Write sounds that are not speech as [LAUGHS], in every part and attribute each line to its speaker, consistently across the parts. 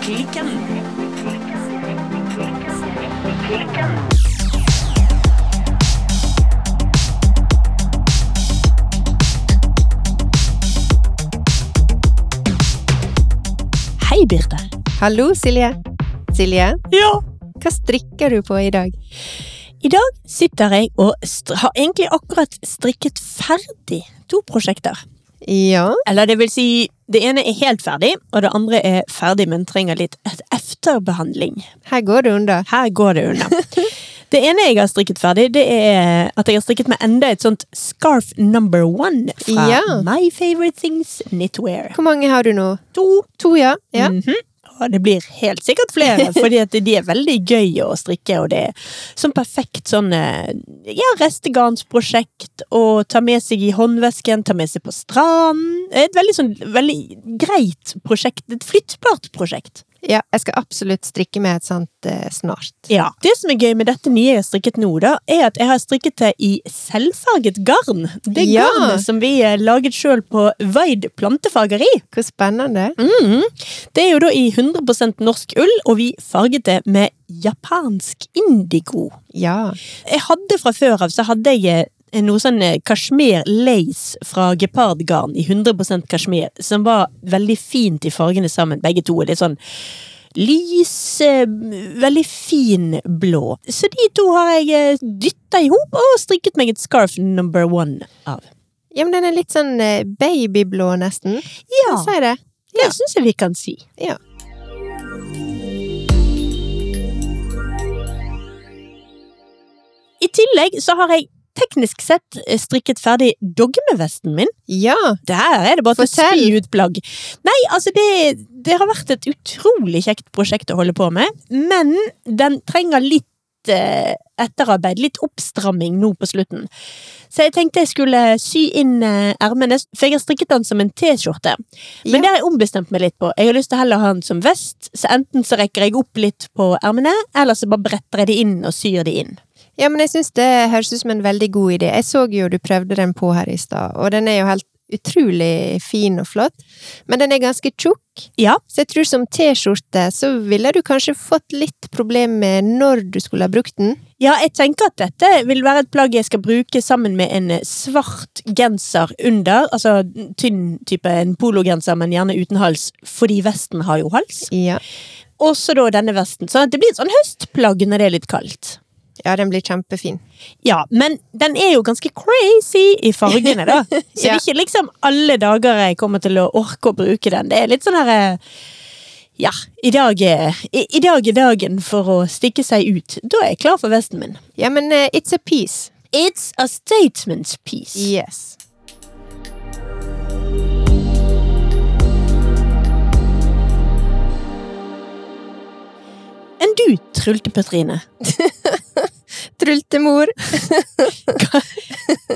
Speaker 1: Klikken.
Speaker 2: Hei, Birte.
Speaker 3: Hallo, Silje. Silje,
Speaker 2: Ja.
Speaker 3: hva strikker du på i dag?
Speaker 2: I dag sitter jeg og str har egentlig akkurat strikket ferdig to prosjekter.
Speaker 3: Ja,
Speaker 2: Eller det vil si, det ene er helt ferdig, og det andre er ferdig, men trenger litt et efterbehandling.
Speaker 3: her går det unna.
Speaker 2: Her går det unna. Det ene jeg har strikket ferdig, det er at jeg har strikket med enda et sånt scarf number one fra
Speaker 3: Ja.
Speaker 2: My Favorite Things Knitwear.
Speaker 3: Hvor mange har du nå?
Speaker 2: To
Speaker 3: To, ja. ja.
Speaker 2: Mhm. Og det blir helt sikkert flere, fordi at de er veldig gøy å strikke, og det er sånn perfekt sånn eh, ja, restegarnsprosjekt å ta med seg i håndvesken, ta med seg på stranden. Et veldig sånn veldig greit prosjekt. Et flyttbart prosjekt.
Speaker 3: Ja, jeg skal absolutt strikke med et sånt eh, snart.
Speaker 2: Ja. Det som er gøy med dette nye jeg har strikket nå, da, er at jeg har strikket det i selvfarget garn. Det
Speaker 3: Ja.
Speaker 2: garnet som vi eh, laget sjøl på Vaid plantefageri.
Speaker 3: Hvor spennende.
Speaker 2: Mhm. Det er jo da i 100 norsk ull, og vi farget det med japansk indigo.
Speaker 3: Ja.
Speaker 2: Jeg hadde fra før av så hadde jeg eh, noe sånn eh, kashmir lace fra gepardgarn i 100 kashmir, som var veldig fint i fargene sammen, begge to. Litt sånn lys, eh, veldig fin blå. Så de to har jeg dytta i hop og strikket meg et scarf number one av.
Speaker 3: Ja, men den er litt sånn eh, babyblå, nesten.
Speaker 2: Ja,
Speaker 3: Hva sier det?
Speaker 2: det syns jeg vi kan si.
Speaker 3: Ja.
Speaker 2: I tillegg så har jeg teknisk sett eh, strikket ferdig dogmevesten min.
Speaker 3: Ja.
Speaker 2: Der er det bare til å
Speaker 3: Fortell.
Speaker 2: spy ut plagg. Nei, altså det, det har vært et utrolig kjekt prosjekt å holde på med, men den trenger litt eh, etterarbeid, litt oppstramming nå på slutten. Så jeg tenkte jeg skulle sy inn eh, ermene, for jeg har strikket den som en T-skjorte. Men
Speaker 3: Ja.
Speaker 2: det har jeg ombestemt meg litt på. Jeg har lyst til å heller ha den som vest, så enten så rekker jeg opp litt på ermene, eller så bare bretter jeg det inn og syr det inn.
Speaker 3: ja, men jeg syns det høres ut som en veldig god idé. Jeg så jo du prøvde den på her i stad, og den er jo helt utrolig fin og flott. Men den er ganske tjukk.
Speaker 2: Ja.
Speaker 3: Så jeg tror som T-skjorte så ville du kanskje fått litt problem med når du skulle ha brukt den.
Speaker 2: Ja, jeg tenker at dette vil være et plagg jeg skal bruke sammen med en eh, svart genser under. Altså tynn type en pologenser, men gjerne uten hals, fordi vesten har jo hals.
Speaker 3: Ja.
Speaker 2: Også da denne vesten. Sånn at det blir et sånn høstplagg når det er litt kaldt.
Speaker 3: Ja, den blir kjempefin.
Speaker 2: Ja, men den er jo ganske crazy i fargene, da. Så det er
Speaker 3: Ja.
Speaker 2: ikke liksom alle dager jeg kommer til å orke å bruke den. Det er litt sånn her eh, Ja, i dag, er, i, i dag er dagen for å stikke seg ut. Da er jeg klar for vesten min.
Speaker 3: Ja, men eh, it's a piece.
Speaker 2: It's a statement piece.
Speaker 3: Yes.
Speaker 2: enn du, Trultepetrine.
Speaker 3: Trultemor.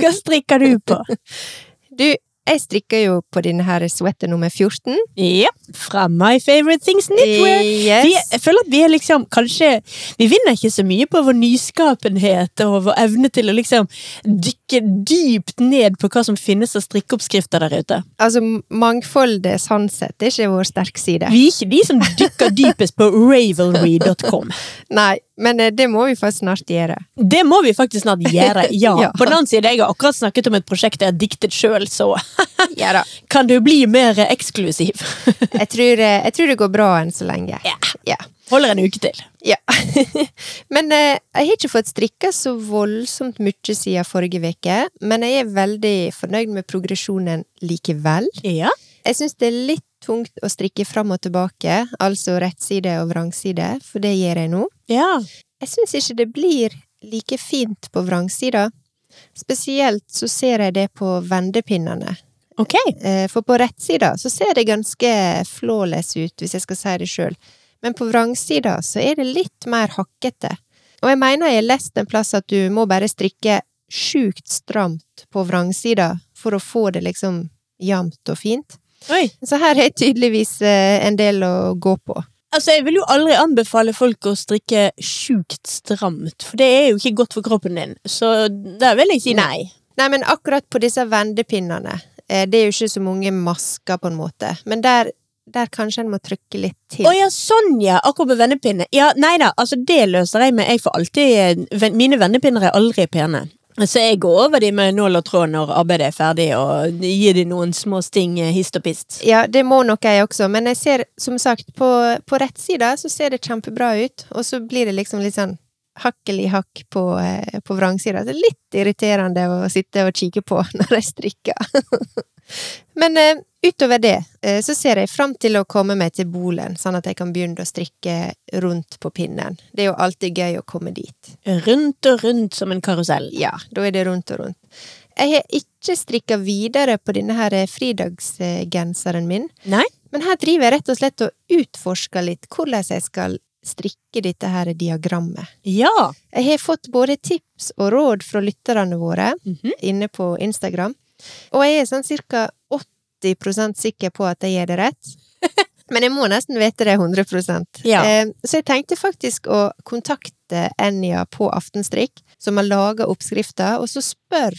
Speaker 2: Hva strikker du på?
Speaker 3: Du, jeg strikker jo på denne her sweater nummer 14.
Speaker 2: [LAUGHS] Ja, fra My Favorite Things Knitwear. Vi,
Speaker 3: Yes.
Speaker 2: jeg føler at vi er liksom kanskje Vi vinner ikke så mye på vår nyskapenhet og vår evne til å liksom dykke dypt ned på hva som finnes av strikkeoppskrifter der ute.
Speaker 3: Altså, mangfoldet sånn sett er ikke vår sterke side.
Speaker 2: Vi er ikke de som dykker dypest på ravelry.com.
Speaker 3: Nei, men eh, det må vi faktisk snart gjøre.
Speaker 2: Det må vi faktisk snart gjøre, ja. [LAUGHS]
Speaker 3: Ja.
Speaker 2: På den annen side, jeg har akkurat snakket om et prosjekt jeg har diktet sjøl, så
Speaker 3: [LAUGHS]
Speaker 2: [LAUGHS]
Speaker 3: Ja da.
Speaker 2: kan du bli mer eksklusiv?
Speaker 3: Jeg tror, eh, jeg tror det går bra enn så lenge.
Speaker 2: Ja.
Speaker 3: Ja.
Speaker 2: Holder en uke til.
Speaker 3: Ja. men eh, jeg har ikke fått strikka så voldsomt mye siden forrige uke, men jeg er veldig fornøyd med progresjonen likevel.
Speaker 2: Ja.
Speaker 3: Jeg syns det er litt tungt å strikke fram og tilbake, altså rettside og vrangside, for det gjør jeg nå.
Speaker 2: ja.
Speaker 3: Jeg syns ikke det blir like fint på vrangsida. Spesielt så ser jeg det på vendepinnene.
Speaker 2: Ok.
Speaker 3: Eh, For på rettsida så ser det ganske flawless ut, hvis jeg skal si det sjøl. Men på vrangsida så er det litt mer hakkete. Og jeg mener jeg har lest en plass at du må bare strikke sjukt stramt på vrangsida for å få det liksom jevnt og fint.
Speaker 2: Oi.
Speaker 3: Så her er tydeligvis eh, en del å gå på.
Speaker 2: Altså, Jeg vil jo aldri anbefale folk å strikke sjukt stramt, for det er jo ikke godt for kroppen din. Så der vil jeg si nei.
Speaker 3: Nei, men akkurat på disse vendepinnene, eh, det er jo ikke så mange masker på en måte, men der, der kanskje en må trykke litt til.
Speaker 2: Å ja, sånn ja! Akkurat på vennepinne. Ja, nei da, altså det løser jeg med. Jeg får alltid ven- Mine vennepinner er aldri pene. Så jeg går over de med nål og tråd når arbeidet er ferdig, og gir de noen små sting eh, hist og pist.
Speaker 3: Ja, det må nok jeg også, men jeg ser, som sagt, på, på rettsida så ser det kjempebra ut, og så blir det liksom litt sånn hakkel i hakk på, eh, på vrangsida. Det er litt irriterende å sitte og kikke på [LAUGHS] når jeg strikker. [LAUGHS] men eh, utover det eh, så ser jeg fram til å komme meg til bolen, sånn at jeg kan begynne å strikke rundt på pinnen. Det er jo alltid gøy å komme dit.
Speaker 2: Rundt og rundt som en karusell.
Speaker 3: Ja, da er det rundt og rundt. Jeg har ikke strikka videre på denne her eh, fridagsgenseren min.
Speaker 2: Nei?
Speaker 3: Men her driver jeg rett og slett og utforsker litt hvordan jeg skal strikke dette her diagrammet.
Speaker 2: Ja.
Speaker 3: Jeg har fått både tips og råd fra lytterne våre
Speaker 2: Mhm.
Speaker 3: inne på Instagram, og jeg er sånn ca. 80 sikker på at jeg gjør det rett. Men jeg må nesten vite det 100
Speaker 2: Ja.
Speaker 3: Eh, Så jeg tenkte faktisk å kontakte Enja på Aftenstrikk, som har laga oppskrifta, og så spør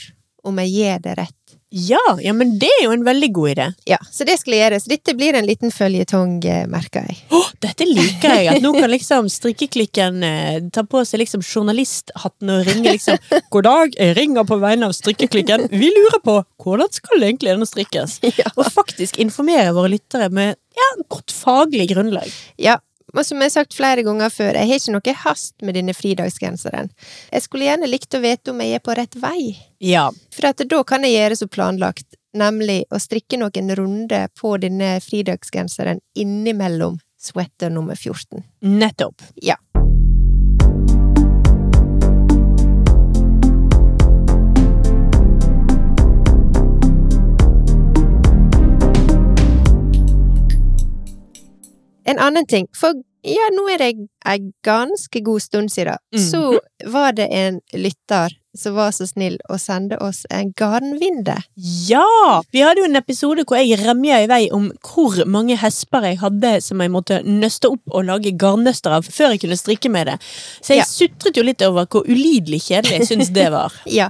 Speaker 3: om jeg gjør det rett.
Speaker 2: ja. Ja, men det er jo en veldig god idé.
Speaker 3: Ja, Så det skulle gjøres. Dette blir en liten føljetong, eh, merker jeg.
Speaker 2: Åh, dette liker jeg! At nå kan liksom strikkeklikken eh, ta på seg liksom journalisthatten og ringe liksom 'God dag, jeg ringer på vegne av strikkeklikken. Vi lurer på hvordan skal egentlig denne strikkes?' Og faktisk informere våre lyttere med ja, godt faglig grunnlag.
Speaker 3: Ja, og som jeg har sagt flere ganger før, jeg har ikke noe hast med denne fridagsgenseren. Jeg skulle gjerne likt å vite om jeg er på rett vei,
Speaker 2: Ja.
Speaker 3: for at da kan jeg gjøre som planlagt, nemlig å strikke noen runder på denne fridagsgenseren innimellom sweater nummer 14.
Speaker 2: Nettopp.
Speaker 3: Ja. En annen ting, for ja, nå er det en ganske god stund siden, så var det en lytter som var så snill å sende oss en garnvinde.
Speaker 2: Ja! Vi hadde jo en episode hvor jeg remja i vei om hvor mange hesper jeg hadde som jeg måtte nøste opp og lage garnnøster av før jeg kunne strikke med det. Så jeg
Speaker 3: Ja.
Speaker 2: sutret jo litt over hvor ulidelig kjedelig jeg syns det var.
Speaker 3: Ja,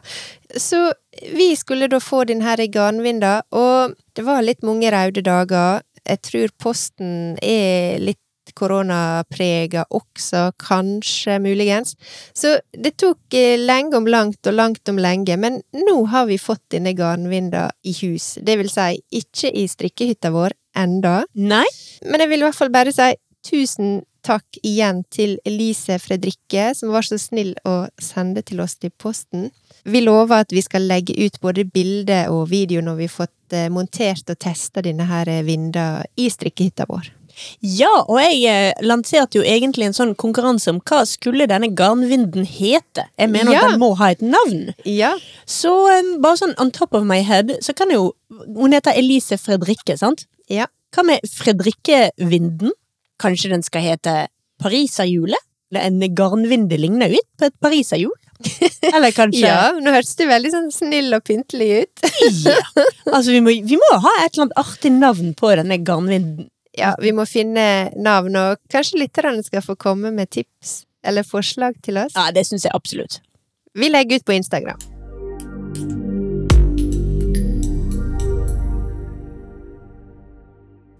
Speaker 3: så vi skulle da få den her i garnvinda, og det var litt mange røde dager. Jeg tror posten er litt koronaprega også, kanskje, muligens. Så det tok eh, lenge om langt og langt om lenge, men nå har vi fått denne garnvinda i hus. Det vil si, ikke i strikkehytta vår enda,
Speaker 2: Nei?
Speaker 3: men jeg vil i hvert fall bare si tusen takk igjen til Elise Fredrikke, som var så snill å sende til oss til posten. Vi lover at vi skal legge ut både bilde og video når vi har fått eh, montert og testa denne her eh, vinda i strikkehytta vår.
Speaker 2: Ja, og jeg eh, lanserte jo egentlig en sånn konkurranse om hva skulle denne garnvinden hete. Jeg mener
Speaker 3: Ja.
Speaker 2: at den må ha et navn.
Speaker 3: Ja.
Speaker 2: Så eh, bare sånn on top of my head, så kan jo Hun heter Elise Fredrikke, sant?
Speaker 3: Ja.
Speaker 2: Hva med Fredrikkevinden? Kanskje den skal hete Pariserhjulet? Eller En garnvinde ligner jo litt på et
Speaker 3: [LAUGHS]
Speaker 2: pariserhjul. Eller kanskje
Speaker 3: ja, nå hørtes du veldig sånn snill og pyntelig ut.
Speaker 2: Ja. Altså, vi må, vi må ha et eller annet artig navn på denne garnvinden.
Speaker 3: Ja, vi må finne navn, og kanskje lytterne skal få komme med tips eller forslag til oss.
Speaker 2: Ja, det syns jeg absolutt.
Speaker 3: Vi legger ut på Instagram.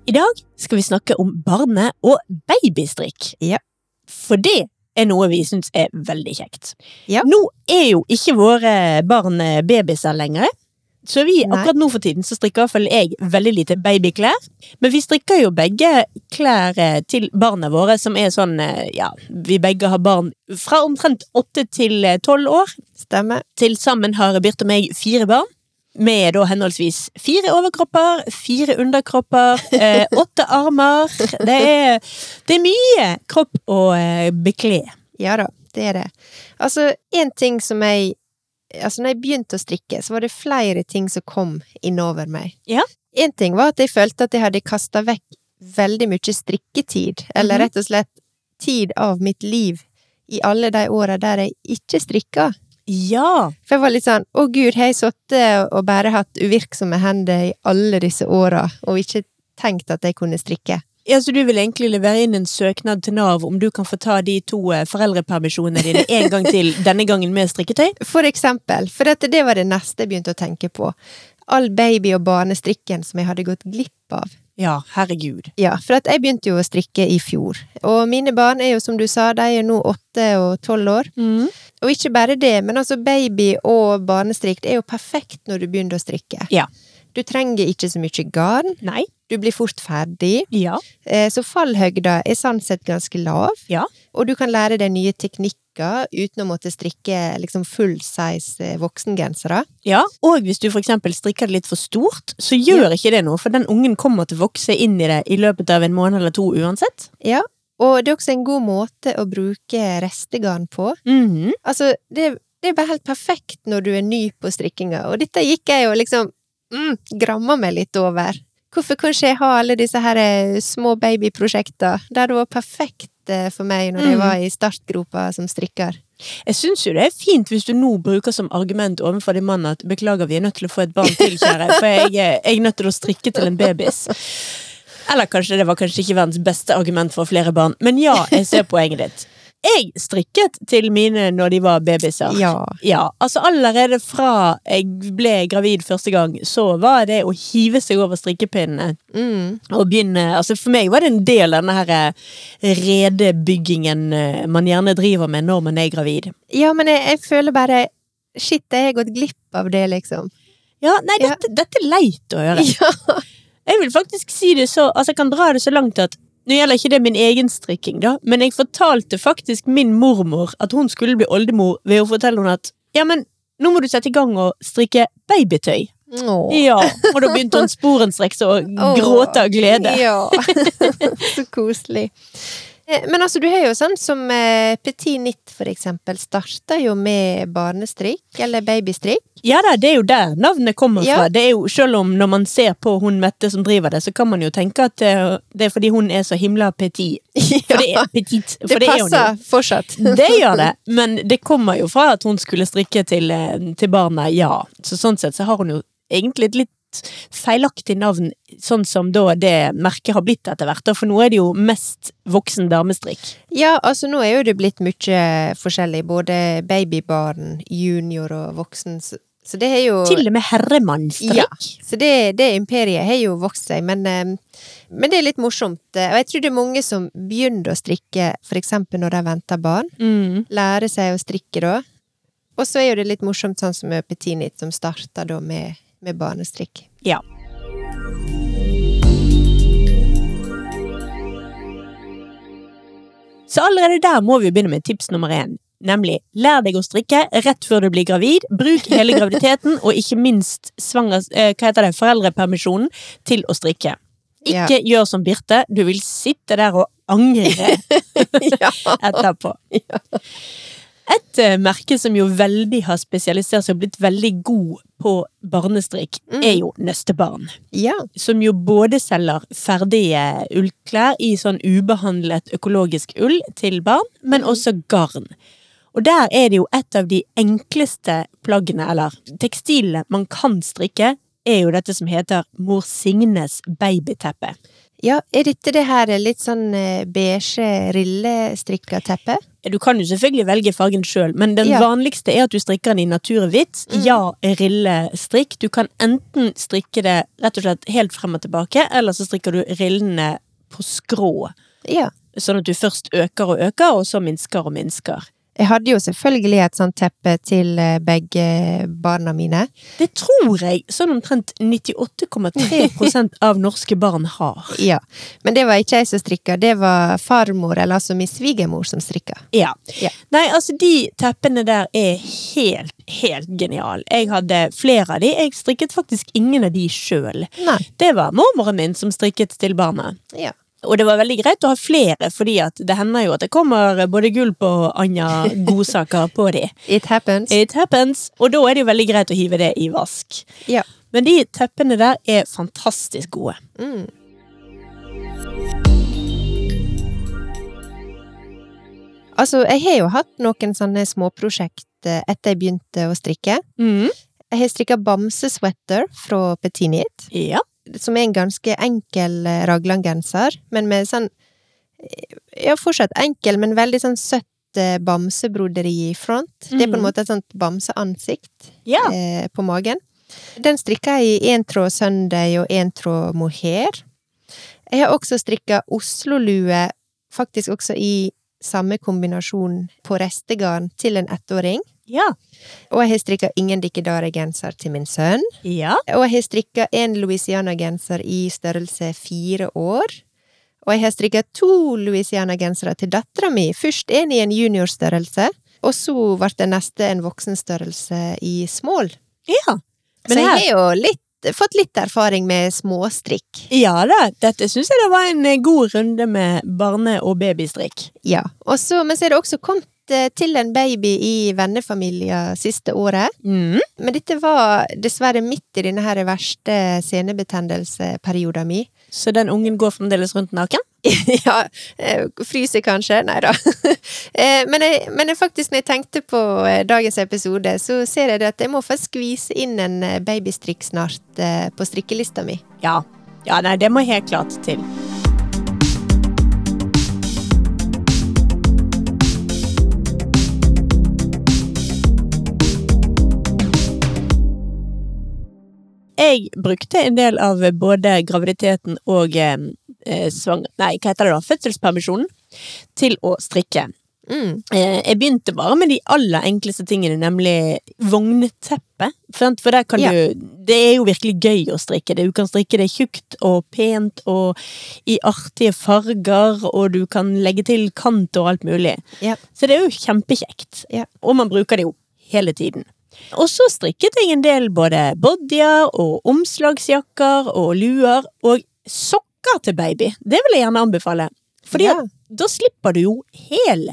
Speaker 2: I dag skal vi snakke om barne- og babystrikk.
Speaker 3: Ja.
Speaker 2: For det er noe vi syns er veldig kjekt.
Speaker 3: Ja.
Speaker 2: Nå er jo ikke våre barn eh, babyer lenger. Så vi,
Speaker 3: Nei.
Speaker 2: akkurat nå for tiden så strikker i hvert fall jeg veldig lite babyklær. Men vi strikker jo begge klær eh, til barna våre, som er sånn eh, Ja, vi begge har barn fra omtrent åtte til eh, tolv år.
Speaker 3: Stemmer.
Speaker 2: Til sammen har Birte og meg fire barn. Med da henholdsvis fire overkropper, fire underkropper, [LAUGHS] eh, åtte armer. Det er, det er mye kropp å eh, bekle.
Speaker 3: Ja da, det er det. Altså, en ting som jeg Altså, når jeg begynte å strikke, så var det flere ting som kom innover meg.
Speaker 2: Ja.
Speaker 3: En ting var at jeg følte at jeg hadde kasta vekk veldig mye strikketid, eller
Speaker 2: Mhm.
Speaker 3: rett og slett tid av mitt liv, i alle de åra der jeg ikke strikka.
Speaker 2: Ja.
Speaker 3: For jeg var litt sånn Å, gud, har jeg sittet og bare hatt uvirksomme hender i alle disse åra, og ikke tenkt at jeg kunne strikke?
Speaker 2: ja, så du vil egentlig levere inn en søknad til Nav om du kan få ta de to eh, foreldrepermisjonene dine en gang [LAUGHS] til, denne gangen med strikketøy?
Speaker 3: For eksempel, for dette, det var det neste jeg begynte å tenke på. All baby- og barnestrikken som jeg hadde gått glipp av.
Speaker 2: Ja, herregud.
Speaker 3: Ja, for at jeg begynte jo å strikke i fjor. Og mine barn er jo, som du sa, de er nå åtte og tolv år.
Speaker 2: Mm.
Speaker 3: Og ikke bare det, men altså baby og barnestrikk det er jo perfekt når du begynner å strikke.
Speaker 2: Ja.
Speaker 3: Du trenger ikke så mye garn,
Speaker 2: Nei.
Speaker 3: du blir fort ferdig,
Speaker 2: Ja.
Speaker 3: eh, så fallhøgda er sånn sett ganske lav.
Speaker 2: Ja.
Speaker 3: Og du kan lære deg nye teknikker uten å måtte strikke liksom full size eh, voksengensere.
Speaker 2: Ja, og hvis du for eksempel strikker det litt for stort, så gjør ikke det noe, for den ungen kommer til å vokse inn i det i løpet av en måned eller to uansett.
Speaker 3: Ja. Og det er også en god måte å bruke restegarn på.
Speaker 2: Mhm.
Speaker 3: Altså, det, det er bare helt perfekt når du er ny på strikkinga, og dette gikk jeg jo liksom mm, gramma meg litt over. Hvorfor kan ikke jeg ha alle disse her eh, små babyprosjekta? Det hadde vært perfekt eh, for meg når jeg
Speaker 2: Mm.
Speaker 3: var i startgropa som strikker.
Speaker 2: Jeg syns jo det er fint hvis du nå bruker som argument overfor din mann at 'beklager, vi er nødt til å få et barn til, kjære', for jeg, er- jeg er nødt til å strikke til en babys. Eller kanskje det var kanskje ikke verdens beste argument for flere barn, men ja, jeg ser poenget ditt. Jeg strikket til mine når de var babyer.
Speaker 3: Ja.
Speaker 2: Ja, altså allerede fra jeg ble gravid første gang, så var det å hive seg over strikkepinnene
Speaker 3: Mm.
Speaker 2: og begynne Altså for meg var det en del av denne her eh, redebyggingen eh, man gjerne driver med når man er gravid.
Speaker 3: Ja, men jeg, jeg føler bare Shit, jeg har gått glipp av det, liksom.
Speaker 2: Ja, nei,
Speaker 3: Ja.
Speaker 2: dette, dette er leit å gjøre.
Speaker 3: Ja.
Speaker 2: Jeg vil faktisk si det så Altså, jeg kan dra det så langt at nå gjelder ikke det min egen strikking, da, men jeg fortalte faktisk min mormor at hun skulle bli oldemor ved å fortelle henne at ja, men nå må du sette i gang og strikke babytøy.
Speaker 3: Åh.
Speaker 2: Ja, og da begynte hun sporenstreks å gråte av glede.
Speaker 3: Ja.
Speaker 2: [LAUGHS]
Speaker 3: Så koselig. Eh, Men altså, du har jo sånn som eh, Petit Nitt, for eksempel, starta jo med barnestrikk, eller
Speaker 2: [LAUGHS]
Speaker 3: babystrikk.
Speaker 2: Ja da, det er jo der navnet kommer
Speaker 3: Ja.
Speaker 2: fra. Det er jo, selv om når man ser på hun Mette som driver det, så kan man jo tenke at eh, det er fordi hun er så himla petit. For det er petit. For
Speaker 3: Det,
Speaker 2: det, er hun jo.
Speaker 3: passer fortsatt.
Speaker 2: [LAUGHS] Det gjør det, men det kommer jo fra at hun skulle strikke til, eh, til barna, ja. Så sånn sett så har hun jo egentlig et litt feilaktig navn, sånn som da det merket har blitt etter hvert. da, For nå er det jo mest voksen damestrikk.
Speaker 3: [LAUGHS] Ja, altså nå er jo det blitt mye forskjellig, både babybarn, junior og voksen, så så det er jo
Speaker 2: Til og med herremannsstrikk.
Speaker 3: Så det, det imperiet har jo vokst seg, men, eh, men det er litt morsomt. eh, Og jeg tror det er mange som begynner å strikke for eksempel når de venter barn.
Speaker 2: Mm.
Speaker 3: Lære seg å strikke da. Og så er jo det litt morsomt sånn som med Petinit, som starta da med, med barnestrikk.
Speaker 2: Ja. Så allerede der må vi jo begynne med tips nummer én. Nemlig lær deg å strikke rett før du blir gravid. Bruk hele graviditeten og ikke minst svangers, eh, hva heter det, foreldrepermisjonen til å strikke.
Speaker 3: Ja.
Speaker 2: Ikke gjør som Birte. Du vil sitte der og
Speaker 3: [LAUGHS]
Speaker 2: angre
Speaker 3: ja.
Speaker 2: etterpå. Et eh, merke som jo veldig har spesialisert seg og blitt veldig god på barnestrikk,
Speaker 3: Mm.
Speaker 2: er jo Nøstebarn
Speaker 3: [LAUGHS] ja.
Speaker 2: som jo både selger ferdige ullklær i sånn ubehandlet økologisk ull til barn, men også garn. Og der er det jo et av de enkleste plaggene, eller tekstilene, man kan strikke, er jo dette som heter Mor Signes babyteppe.
Speaker 3: Ja, er dette det her litt sånn eh, beige rillestrikka teppe?
Speaker 2: Du kan jo selvfølgelig velge fargen sjøl, men den
Speaker 3: Ja.
Speaker 2: vanligste er at du strikker den i naturhvitt. Ja, rillestrikk. Du kan enten strikke det rett og slett helt frem og tilbake, eller så strikker du rillene på skrå.
Speaker 3: Ja.
Speaker 2: sånn at du først øker og øker, og så minsker og minsker.
Speaker 3: Jeg hadde jo selvfølgelig et sånt teppe til eh, begge barna mine.
Speaker 2: Det tror jeg sånn omtrent 98,3
Speaker 3: [LAUGHS]
Speaker 2: av norske barn har.
Speaker 3: Ja, men det var ikke jeg som strikka, det var farmor, eller altså min svigermor, som strikka.
Speaker 2: Ja.
Speaker 3: Ja.
Speaker 2: Nei, altså de teppene der er helt, helt genial. Jeg hadde flere av de. Jeg strikket faktisk ingen av de sjøl.
Speaker 3: Nei.
Speaker 2: Det var mormoren min som strikket til barna.
Speaker 3: Ja.
Speaker 2: Og det var veldig greit å ha flere, fordi at det hender jo at det kommer både gulp og andre
Speaker 3: [LAUGHS]
Speaker 2: godsaker på de.
Speaker 3: It happens.
Speaker 2: It happens, og da er det jo veldig greit å hive det i vask.
Speaker 3: Ja.
Speaker 2: Men de teppene der er fantastisk gode.
Speaker 3: Mm. Altså, jeg har jo hatt noen sånne småprosjekt eh, etter jeg begynte å strikke.
Speaker 2: Mm.
Speaker 3: Jeg har strikka bamsesweater fra Petinit,
Speaker 2: Ja.
Speaker 3: som er en ganske enkel eh, raglangenser, men med sånn Ja, fortsatt enkel, men veldig sånn søtt eh, bamsebroderi i front. Det er på en
Speaker 2: Mhm.
Speaker 3: måte et sånt bamseansikt.
Speaker 2: ja.
Speaker 3: eh, på magen. Den strikka jeg i én tråd søndag og én tråd mohair. Jeg har også strikka Oslo-lue, faktisk også i samme kombinasjon på restegarn til en ettåring.
Speaker 2: Ja.
Speaker 3: Og jeg har strikka ingen dikkedare-genser til min sønn.
Speaker 2: Ja.
Speaker 3: Og jeg har strikka en Louisiana-genser i størrelse fire år. Og jeg har strikka to Louisiana-gensere til dattera mi. Først en i en juniorstørrelse, og så ble den neste en voksenstørrelse i small.
Speaker 2: ja.
Speaker 3: Så
Speaker 2: Men
Speaker 3: jeg har
Speaker 2: her,
Speaker 3: jo litt, fått litt erfaring med småstrikk.
Speaker 2: ja da, dette syns jeg det var en eh, god runde med barne- og babystrikk.
Speaker 3: Ja. Og så, men så er det også kommet eh, til en baby i vennefamilien siste året.
Speaker 2: Mm.
Speaker 3: Men dette var dessverre midt i denne her verste
Speaker 2: [LAUGHS]
Speaker 3: senebetennelseperioden min.
Speaker 2: Så den ungen går fremdeles rundt naken?
Speaker 3: Ja, eh, fryser kanskje, nei da. [LAUGHS] Eh, men, jeg, men jeg faktisk, når jeg tenkte på eh, dagens episode, så ser jeg det at jeg må få skvise inn en eh, babystrikk snart eh, på strikkelista mi.
Speaker 2: Ja. Ja, nei, det må helt klart til. Jeg brukte en del av både graviditeten og eh, eh, svang... Nei, hva heter det da? Fødselspermisjonen til å strikke.
Speaker 3: Mm.
Speaker 2: Eh, jeg begynte bare med de aller enkleste tingene, nemlig vognteppe. For, sant? for der kan
Speaker 3: Ja.
Speaker 2: du Det er jo virkelig gøy å strikke det. Du kan strikke det tjukt og pent og i artige farger, og du kan legge til kant og alt mulig.
Speaker 3: Ja.
Speaker 2: Så det er jo kjempekjekt.
Speaker 3: Ja.
Speaker 2: Og man bruker det jo hele tiden. Og så strikket jeg en del både bodyer og omslagsjakker og luer og sokker til baby. Det vil jeg gjerne anbefale. Fordi
Speaker 3: Ja.
Speaker 2: at da slipper du jo hæl.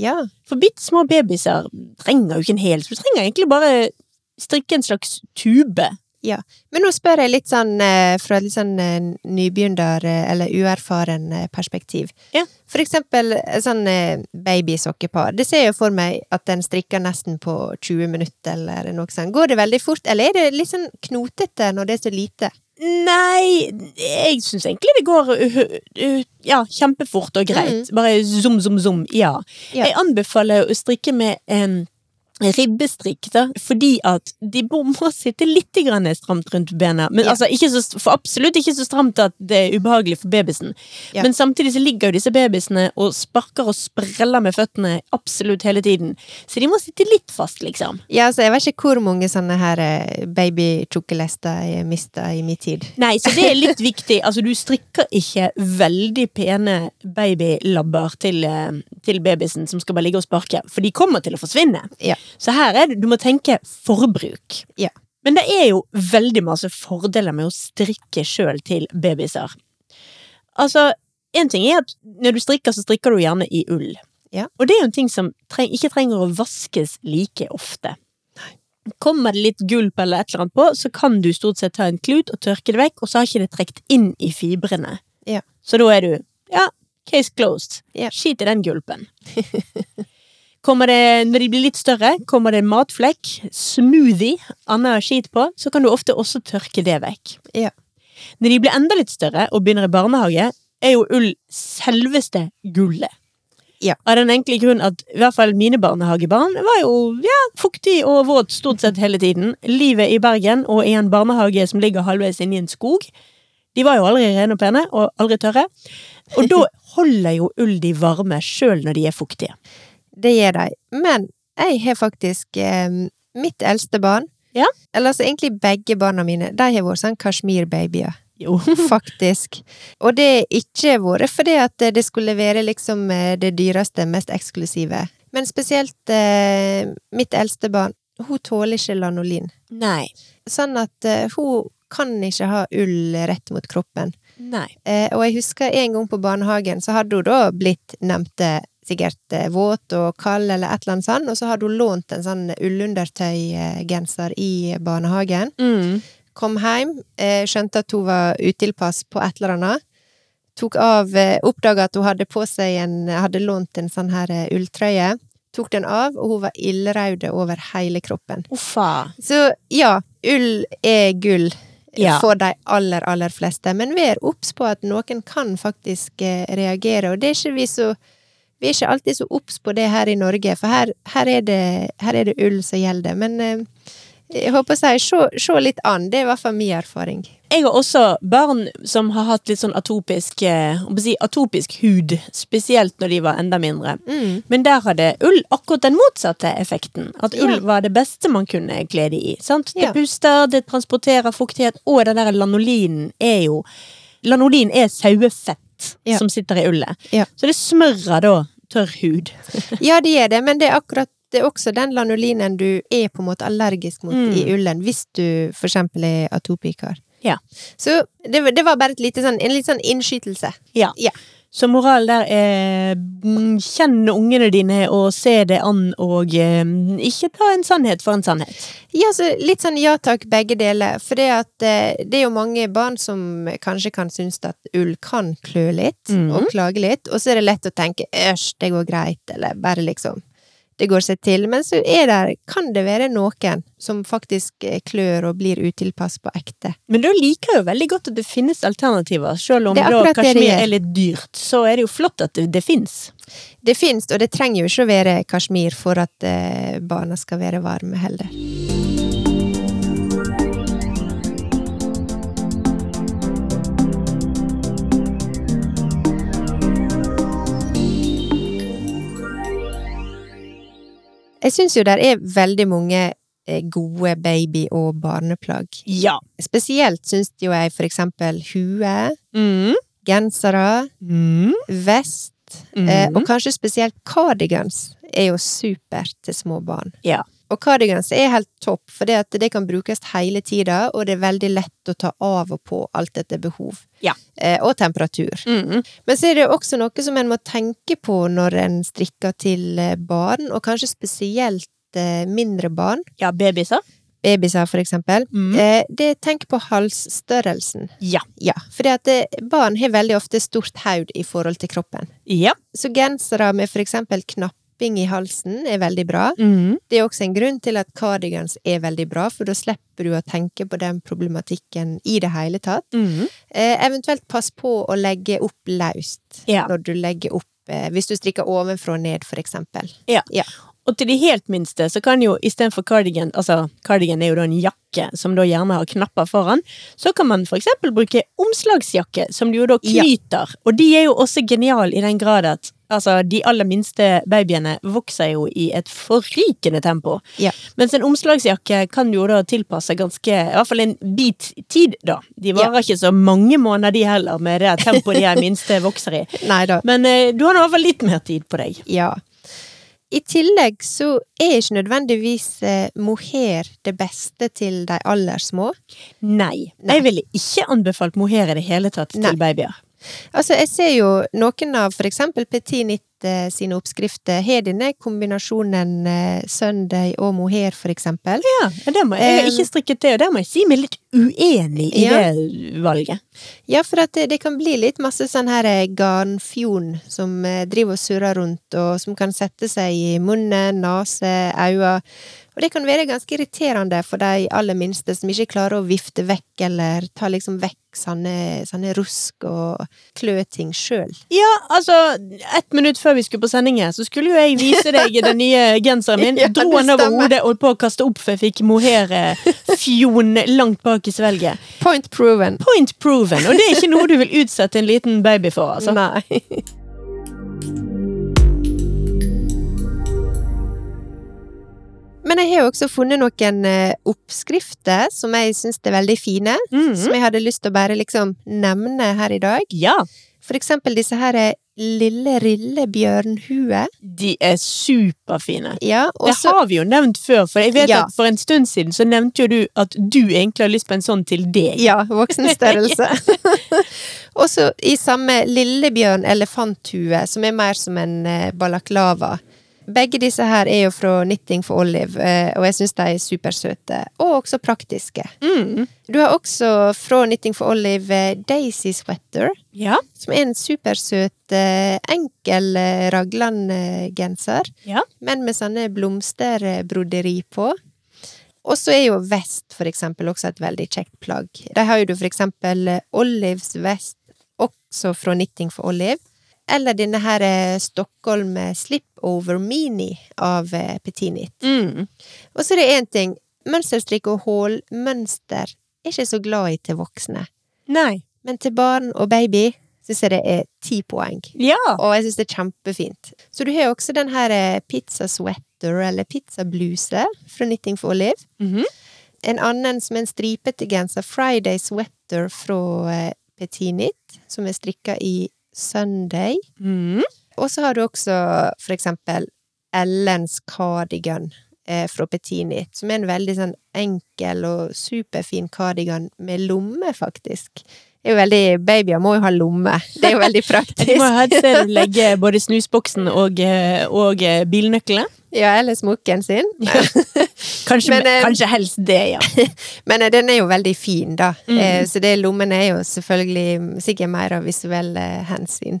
Speaker 3: Ja.
Speaker 2: For bitte små babyer trenger jo ikke en hel, så du trenger egentlig bare strikke en slags tube.
Speaker 3: Men nå spør jeg litt sånn eh, fra et litt sånn eh, nybegynner- eh, eller uerfaren eh, perspektiv.
Speaker 2: Ja.
Speaker 3: For eksempel eh, sånn eh, babysokkepar. Det ser jeg for meg at den strikker nesten på 20 minutter eller noe sånt. Går det veldig fort, eller er det litt sånn knotete når det er så lite?
Speaker 2: Nei, jeg syns egentlig det går uh, uh, ja, kjempefort og greit. Bare zoom, zoom, zoom. Ja.
Speaker 3: Mhm. Ja.
Speaker 2: Jeg anbefaler å strikke med en ribbestrikk, da, fordi at de må må sitte litt grann stramt rundt bena. Men
Speaker 3: Ja.
Speaker 2: altså, ikke så, st- for absolutt ikke så stramt at det er ubehagelig for babysen.
Speaker 3: Ja.
Speaker 2: Men samtidig så ligger jo disse babysene og sparker og spreller med føttene absolutt hele tiden. Så de må sitte litt fast, liksom.
Speaker 3: Ja, altså, jeg vet ikke hvor mange sånne her eh, babytjukkelester jeg mista i min tid.
Speaker 2: Nei, så det er litt viktig. Altså, du strikker ikke veldig pene babylabber til, eh, til babysen som skal bare ligge og sparke, for de kommer til å forsvinne.
Speaker 3: Ja.
Speaker 2: Så her er det, du må tenke forbruk.
Speaker 3: Ja.
Speaker 2: Men det er jo veldig masse fordeler med å strikke sjøl til babyser. Altså, en ting er at når du strikker, så strikker du gjerne i ull.
Speaker 3: Ja.
Speaker 2: Og det er jo en ting som treng, ikke trenger å vaskes like ofte. Kommer det litt gulp eller et eller annet på, så kan du stort sett ta en klut og tørke det vekk, og så har ikke det trukket inn i fibrene.
Speaker 3: Ja.
Speaker 2: Så da er du ja, case closed.
Speaker 3: Ja.
Speaker 2: Skit i den gulpen. [LAUGHS] Kommer det, når de blir litt større, kommer det matflekk, smoothie, annet skit på, så kan du ofte også tørke det vekk.
Speaker 3: Ja.
Speaker 2: Når de blir enda litt større og begynner i barnehage, er jo ull selveste gullet.
Speaker 3: Ja.
Speaker 2: Av den enkle grunn at i hvert fall mine barnehagebarn var jo ja, fuktig og våt stort sett hele tiden. Livet i Bergen og i en barnehage som ligger halvveis inne i en skog. De var jo aldri rene og pene, og aldri tørre. Og da holder jo ull de varme sjøl når de er fuktige.
Speaker 3: Det gjør de. Men jeg har faktisk eh, mitt eldste barn
Speaker 2: Ja.
Speaker 3: Eller altså egentlig begge barna mine. De har vært sånn kasjmirbabyer,
Speaker 2: Jo.
Speaker 3: [LAUGHS] faktisk. Og det har ikke vært fordi at eh, det skulle være liksom eh, det dyreste, mest eksklusive. Men spesielt eh, mitt eldste barn. Hun tåler ikke lanolin.
Speaker 2: Nei.
Speaker 3: Sånn at eh, hun kan ikke ha ull rett mot kroppen.
Speaker 2: Nei.
Speaker 3: Eh, og jeg husker en gang på barnehagen, så hadde hun da blitt nevnte sikkert eh, våt og kald eller et eller annet sånt, og så hadde hun lånt en sånn ullundertøygenser i barnehagen.
Speaker 2: Mm.
Speaker 3: Kom hjem, eh, skjønte at hun var utilpass på et eller annet. Tok av, eh, oppdaga at hun hadde på seg en, hadde lånt en sånn her eh, ulltrøye. Tok den av, og hun var ildrød over hele kroppen.
Speaker 2: Uffa.
Speaker 3: Så ja, ull er gull
Speaker 2: Ja.
Speaker 3: for de aller, aller fleste. Men vær obs på at noen kan faktisk eh, reagere, og det er ikke vi så vi er ikke alltid så obs på det her i Norge, for her, her, er, det, her er det ull som gjelder. Men eh, jeg håper å si, se, se litt an. Det er i hvert fall min erfaring.
Speaker 2: Jeg har også barn som har hatt litt sånn atopisk, eh, hva skal jeg si, atopisk hud, spesielt når de var enda mindre.
Speaker 3: Mm.
Speaker 2: Men der hadde ull akkurat den motsatte effekten. At
Speaker 3: Ja.
Speaker 2: ull var det beste man kunne kle det i. Sant? Det
Speaker 3: Ja.
Speaker 2: puster, det transporterer fuktighet, og den der lanolinen er jo Lanolin er sauefett
Speaker 3: Ja.
Speaker 2: som sitter i ullet.
Speaker 3: Ja.
Speaker 2: Så det smører da tørr hud.
Speaker 3: [LAUGHS] Ja, det er det, men det er akkurat det er også den lanolinen du er på en måte allergisk mot
Speaker 2: Mm.
Speaker 3: i ullen, hvis du for eksempel er atopiker.
Speaker 2: Ja.
Speaker 3: Så det, var- det var bare et lite sånn, en litt sånn innskytelse.
Speaker 2: Ja.
Speaker 3: Ja.
Speaker 2: Så moralen der er mm, kjenn ungene dine og se det an, og eh, ikke ta en sannhet for en sannhet.
Speaker 3: Ja, så litt sånn ja takk, begge deler. For det, at, eh, det er jo mange barn som kanskje kan synes at ull kan klø litt,
Speaker 2: Mhm.
Speaker 3: og klage litt. Og så er det lett å tenke æsj, det går greit, eller bare liksom Det går seg til. Men så er det, kan det være noen som faktisk eh, klør og blir utilpass på ekte.
Speaker 2: Men du liker jo veldig godt at det finnes alternativer, selv om
Speaker 3: Det er
Speaker 2: da
Speaker 3: akkurat det det
Speaker 2: kasjmir
Speaker 3: gjør.
Speaker 2: er litt dyrt. Så er det jo flott at det, det fins.
Speaker 3: Det fins, og det trenger jo ikke å være kasjmir for at eh, barna skal være varme heller. Jeg syns jo der er veldig mange eh, gode baby- og barneplagg.
Speaker 2: Ja.
Speaker 3: Spesielt syns jo jeg for eksempel hue,
Speaker 2: Mm.
Speaker 3: gensere,
Speaker 2: Mm.
Speaker 3: vest Eh, og kanskje spesielt cardigans er jo supert til små barn.
Speaker 2: Ja.
Speaker 3: Og cardigans er helt topp, for det, at det kan brukes hele tida, og det er veldig lett å ta av og på alt etter behov.
Speaker 2: Ja.
Speaker 3: Eh, og temperatur.
Speaker 2: Mm.
Speaker 3: Men så er det jo også noe som en må tenke på når en strikker til eh, barn, og kanskje spesielt eh, mindre barn,
Speaker 2: Ja, babyser.
Speaker 3: babyser for eksempel.
Speaker 2: Mm.
Speaker 3: Eh, det tenk på halsstørrelsen.
Speaker 2: Ja.
Speaker 3: Ja, for det at eh, barn har veldig ofte stort haud i forhold til kroppen.
Speaker 2: Ja.
Speaker 3: Så gensere med for eksempel knapping i halsen er veldig bra.
Speaker 2: Mm.
Speaker 3: Det er også en grunn til at cardigans er veldig bra, for da slipper du å tenke på den problematikken i det hele tatt.
Speaker 2: Mm.
Speaker 3: Eh, eventuelt pass på å legge opp løst
Speaker 2: Ja.
Speaker 3: når du legger opp eh, hvis du strikker ovenfra og ned, for eksempel.
Speaker 2: Og til de helt minste så kan jo istedenfor cardigan Altså, cardigan er jo da en jakke som da gjerne har knapper foran. Så kan man for eksempel bruke omslagsjakke, som du jo da
Speaker 3: Ja.
Speaker 2: knyter. Og de er jo også geniale i den grad at altså, de aller minste babyene vokser jo i et forrykende tempo.
Speaker 3: Ja.
Speaker 2: Mens en omslagsjakke kan du jo da tilpasse ganske I hvert fall en bit tid, da. De varer ikke så mange måneder, de heller, med det tempoet de her minste vokser i.
Speaker 3: Nei da.
Speaker 2: Men eh, du har nå i hvert fall litt mer tid på deg.
Speaker 3: Ja. I tillegg så er ikke nødvendigvis eh, mohair det beste til de aller små.
Speaker 2: Nei.
Speaker 3: Nei.
Speaker 2: Jeg ville ikke anbefalt mohair i det hele tatt
Speaker 3: Nei.
Speaker 2: til babyer.
Speaker 3: Altså, jeg ser jo noen av for eksempel Petit Nitt eh, sine oppskrifter har denne kombinasjonen eh, Sunday og mohair, for eksempel.
Speaker 2: Ja, det må jeg, jeg har
Speaker 3: Eh,
Speaker 2: ikke strikket til, og der må jeg si meg litt uenig i
Speaker 3: Ja.
Speaker 2: det valget.
Speaker 3: Ja, for at det, det kan bli litt masse sånn her eh, garnfjon som eh, driver og surrer rundt, og som kan sette seg i munnen, nese, øyne. Og det kan være ganske irriterende for de aller minste som ikke klarer å vifte vekk eller ta liksom vekk sånne, sånne rusk og kløting sjøl.
Speaker 2: Ja, altså, ett minutt før vi skulle på sending her, så skulle jo jeg vise deg den nye genseren min.
Speaker 3: [LAUGHS] Ja,
Speaker 2: dro
Speaker 3: det
Speaker 2: den over
Speaker 3: stemmer.
Speaker 2: hodet og på å kaste opp for jeg fikk mohair-fjon langt bak i svelget.
Speaker 3: Point proven.
Speaker 2: Point proven, og det er ikke noe du vil utsette en liten baby for, altså.
Speaker 3: Nei. Men jeg har jo også funnet noen eh, oppskrifter som jeg syns er veldig fine.
Speaker 2: Mhm.
Speaker 3: Som jeg hadde lyst til å bare liksom nevne her i dag.
Speaker 2: Ja,
Speaker 3: For eksempel disse her eh, Lille Rille Bjørnhue.
Speaker 2: de er superfine.
Speaker 3: Ja, og
Speaker 2: det
Speaker 3: så
Speaker 2: har vi jo nevnt før, for jeg vet
Speaker 3: Ja.
Speaker 2: at for en stund siden så nevnte jo du at du egentlig har lyst på en sånn til deg.
Speaker 3: Ja, voksen størrelse. [LAUGHS] og så i samme Lillebjørn elefanthue, som er mer som en eh, balaklava. Begge disse her er jo fra Knitting for Olive, eh, og jeg syns de er supersøte. Og også praktiske.
Speaker 2: Mm.
Speaker 3: Du har også fra Knitting for Olive eh, Daisy Sweater,
Speaker 2: Ja.
Speaker 3: som er en supersøt, eh, enkel eh, raglan-genser,
Speaker 2: Ja.
Speaker 3: men med sånne blomsterbroderi på. Og så er jo vest for eksempel også et veldig kjekt plagg. Der har jo du for eksempel eh, Olives vest, også fra Knitting for Olive. Eller denne her eh, Stockholm eh, Slipover Mini av eh, Petit Knit.
Speaker 2: Mm.
Speaker 3: Og så er det én ting Mønsterstrikk og hålmønster er ikke så glad i til voksne.
Speaker 2: Nei.
Speaker 3: Men til barn og baby syns jeg det er ti poeng.
Speaker 2: Ja!
Speaker 3: Og jeg syns det er kjempefint. Så du har jo også den her eh, pizza sweater, eller pizza bluse, fra Knitting for Olive.
Speaker 2: Mhm.
Speaker 3: En annen som er en stripete genser, Friday sweater fra eh, Petit Knit, som er strikka i Sunday.
Speaker 2: Mhm.
Speaker 3: Og så har du også for eksempel Ellens cardigan eh, fra Petit Knit, som er en veldig sånn enkel og superfin cardigan med lomme, faktisk. Det er jo veldig, Babyer må jo ha lomme. Det er jo veldig
Speaker 2: [LAUGHS] Ja,
Speaker 3: praktisk.
Speaker 2: Du må ha et sted å legge både snusboksen og, eh, og eh, bilnøklene.
Speaker 3: Ja, eller smokken sin.
Speaker 2: Kanskje,
Speaker 3: Men, eh,
Speaker 2: kanskje helst det, ja.
Speaker 3: [LAUGHS] Men eh, den er jo veldig fin, da.
Speaker 2: Mm.
Speaker 3: Eh, Så det lommene er jo selvfølgelig mm, sikkert mer av visuelle hensyn.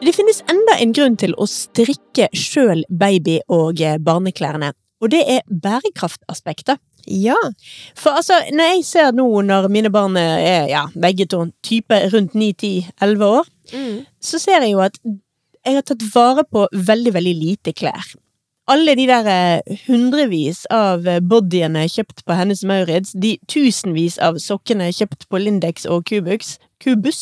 Speaker 2: Det finnes enda en grunn til å strikke sjøl baby- og eh, barneklærne. Og det er bærekraftaspektet.
Speaker 3: Ja.
Speaker 2: For altså, når jeg ser nå når mine barn er ja, begge to type rundt 9-10-11 år, så ser jeg jo at jeg har tatt vare på veldig, veldig lite klær. Alle de der eh, hundrevis av eh, bodyene kjøpt på Hennes Maurits, de tusenvis av sokkene kjøpt på Lindex og Kubux,
Speaker 3: [LAUGHS]
Speaker 2: Kubus,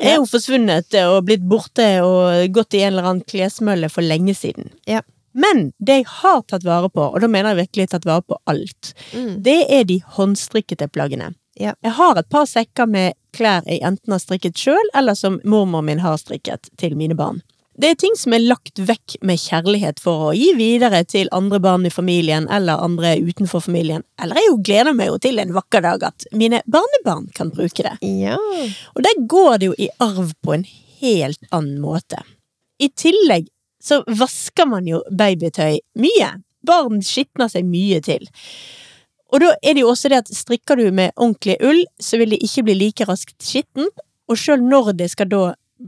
Speaker 2: er jo forsvunnet eh, og blitt borte og gått i en eller annen klesmølle for lenge siden.
Speaker 3: Ja.
Speaker 2: Men det jeg har tatt vare på, og da mener jeg virkelig tatt vare på alt,
Speaker 3: Mm.
Speaker 2: det er de håndstrikkete plaggene.
Speaker 3: Ja.
Speaker 2: Jeg har et par sekker med klær jeg enten har strikket sjøl, eller som mormor min har strikket til mine barn. Det er ting som er lagt vekk med kjærlighet for å gi videre til andre barn i familien eller andre utenfor familien. Eller jeg jo gleder meg jo til en vakker dag at mine barnebarn kan bruke det.
Speaker 3: Ja.
Speaker 2: Og der går det jo i arv på en helt annen måte. I tillegg så vasker man jo babytøy mye. Barn skitner seg mye til. Og da er det jo også det at strikker du med ordentlig ull, så vil det ikke bli like raskt skittent, og sjøl når det skal da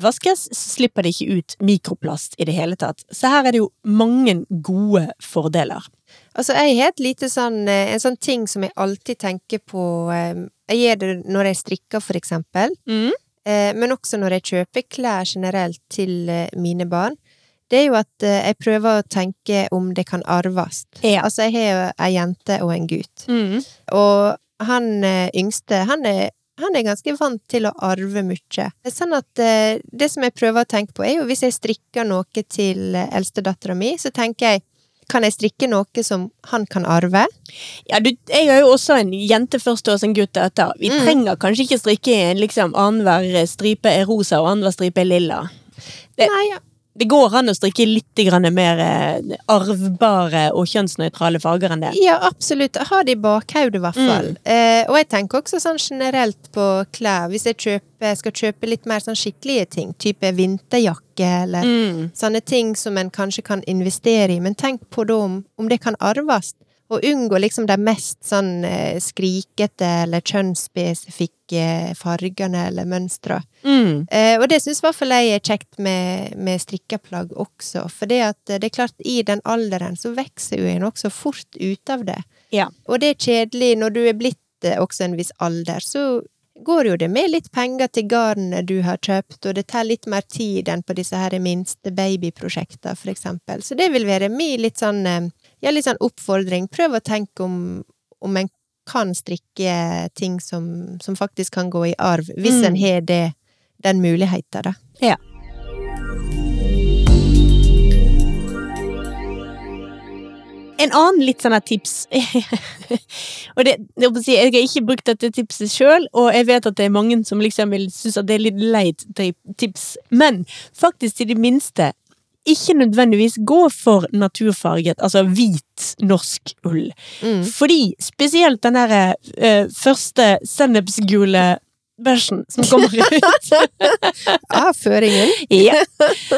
Speaker 2: vaskes, så slipper det ikke ut mikroplast i det hele tatt. Så her er det jo mange gode fordeler.
Speaker 3: Altså, jeg har et lite sånn eh, En sånn ting som jeg alltid tenker på eh, Jeg gjør det når jeg strikker, for eksempel. eh, men også når jeg kjøper klær generelt til eh, mine barn, det er jo at eh, jeg prøver å tenke om det kan arves.
Speaker 2: Ja.
Speaker 3: Altså, jeg har jo ei jente og en gutt, og han eh, yngste, han er han er ganske vant til å arve mye. Sånn at eh, det som jeg prøver å tenke på, er jo hvis jeg strikker noe til eh, eldstedattera mi, så tenker jeg kan jeg strikke noe som han kan arve?
Speaker 2: Ja, du, jeg har jo også en jente først og en gutt etter. Vi
Speaker 3: Mm.
Speaker 2: trenger kanskje ikke strikke i en liksom annenhver stripe er rosa og annenhver stripe er lilla. Det-
Speaker 3: Nei, ja.
Speaker 2: Det går an å strikke litt grann mer eh, arvbare og kjønnsnøytrale farger enn det.
Speaker 3: Ja, absolutt. Ha det i bakhodet, i hvert fall. Eh, og jeg tenker også sånn generelt på klær. Hvis jeg kjøper, skal kjøpe litt mer sånn skikkelige ting, type vinterjakke eller sånne ting som en kanskje kan investere i, men tenk på da om, om det kan arves. Og unngå liksom de mest sånn eh, skrikete eller kjønnsspesifikke eh, fargene eller mønstre.
Speaker 2: Mm.
Speaker 3: Eh, og det syns i hvert fall jeg er kjekt med, med strikkeplagg også. For det, at, eh, det er klart, i den alderen så vokser jo en også fort ut av det.
Speaker 2: Ja.
Speaker 3: Og det er kjedelig når du er blitt eh, også en viss alder, så går jo det med litt penger til garnet du har kjøpt, og det tar litt mer tid enn på disse her minste babyprosjektene, for eksempel. Så det vil være min litt sånn, eh, ja, litt sånn oppfordring. Prøv å tenke om, om en kan strikke ting som, som faktisk kan gå i arv, hvis
Speaker 2: Mm.
Speaker 3: en har det, den muligheten, da.
Speaker 2: En annen litt sånn her tips [LAUGHS] Og det, det er å si, Jeg har ikke brukt dette tipset sjøl, og jeg vet at det er mange som liksom vil synes at det er litt leit tri- tips, men faktisk til det minste ikke nødvendigvis gå for naturfarget, altså hvit norsk ull.
Speaker 3: Mm.
Speaker 2: Fordi spesielt den derre eh, første sennepsgule bæsjen som kommer ut [LAUGHS]
Speaker 3: Avføringen.
Speaker 2: ja.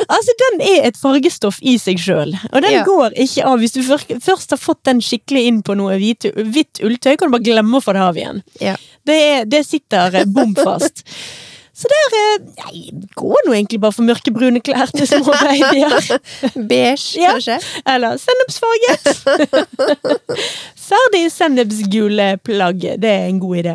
Speaker 2: Altså, den er et fargestoff i seg sjøl, og den
Speaker 3: Ja.
Speaker 2: går ikke av. Hvis du førk- først har fått den skikkelig inn på noe hvit, hvitt ulltøy, kan du bare glemme å få det av igjen.
Speaker 3: Ja.
Speaker 2: Det, er- det sitter eh, bom fast. Så der eh, Nei, gå nå egentlig bare for mørkebrune klær til små babyer.
Speaker 3: Beige,
Speaker 2: Ja.
Speaker 3: kanskje.
Speaker 2: Eller
Speaker 3: [LAUGHS]
Speaker 2: sennepsfarget. Ferdig sennepsgule plagg. Det er en god idé.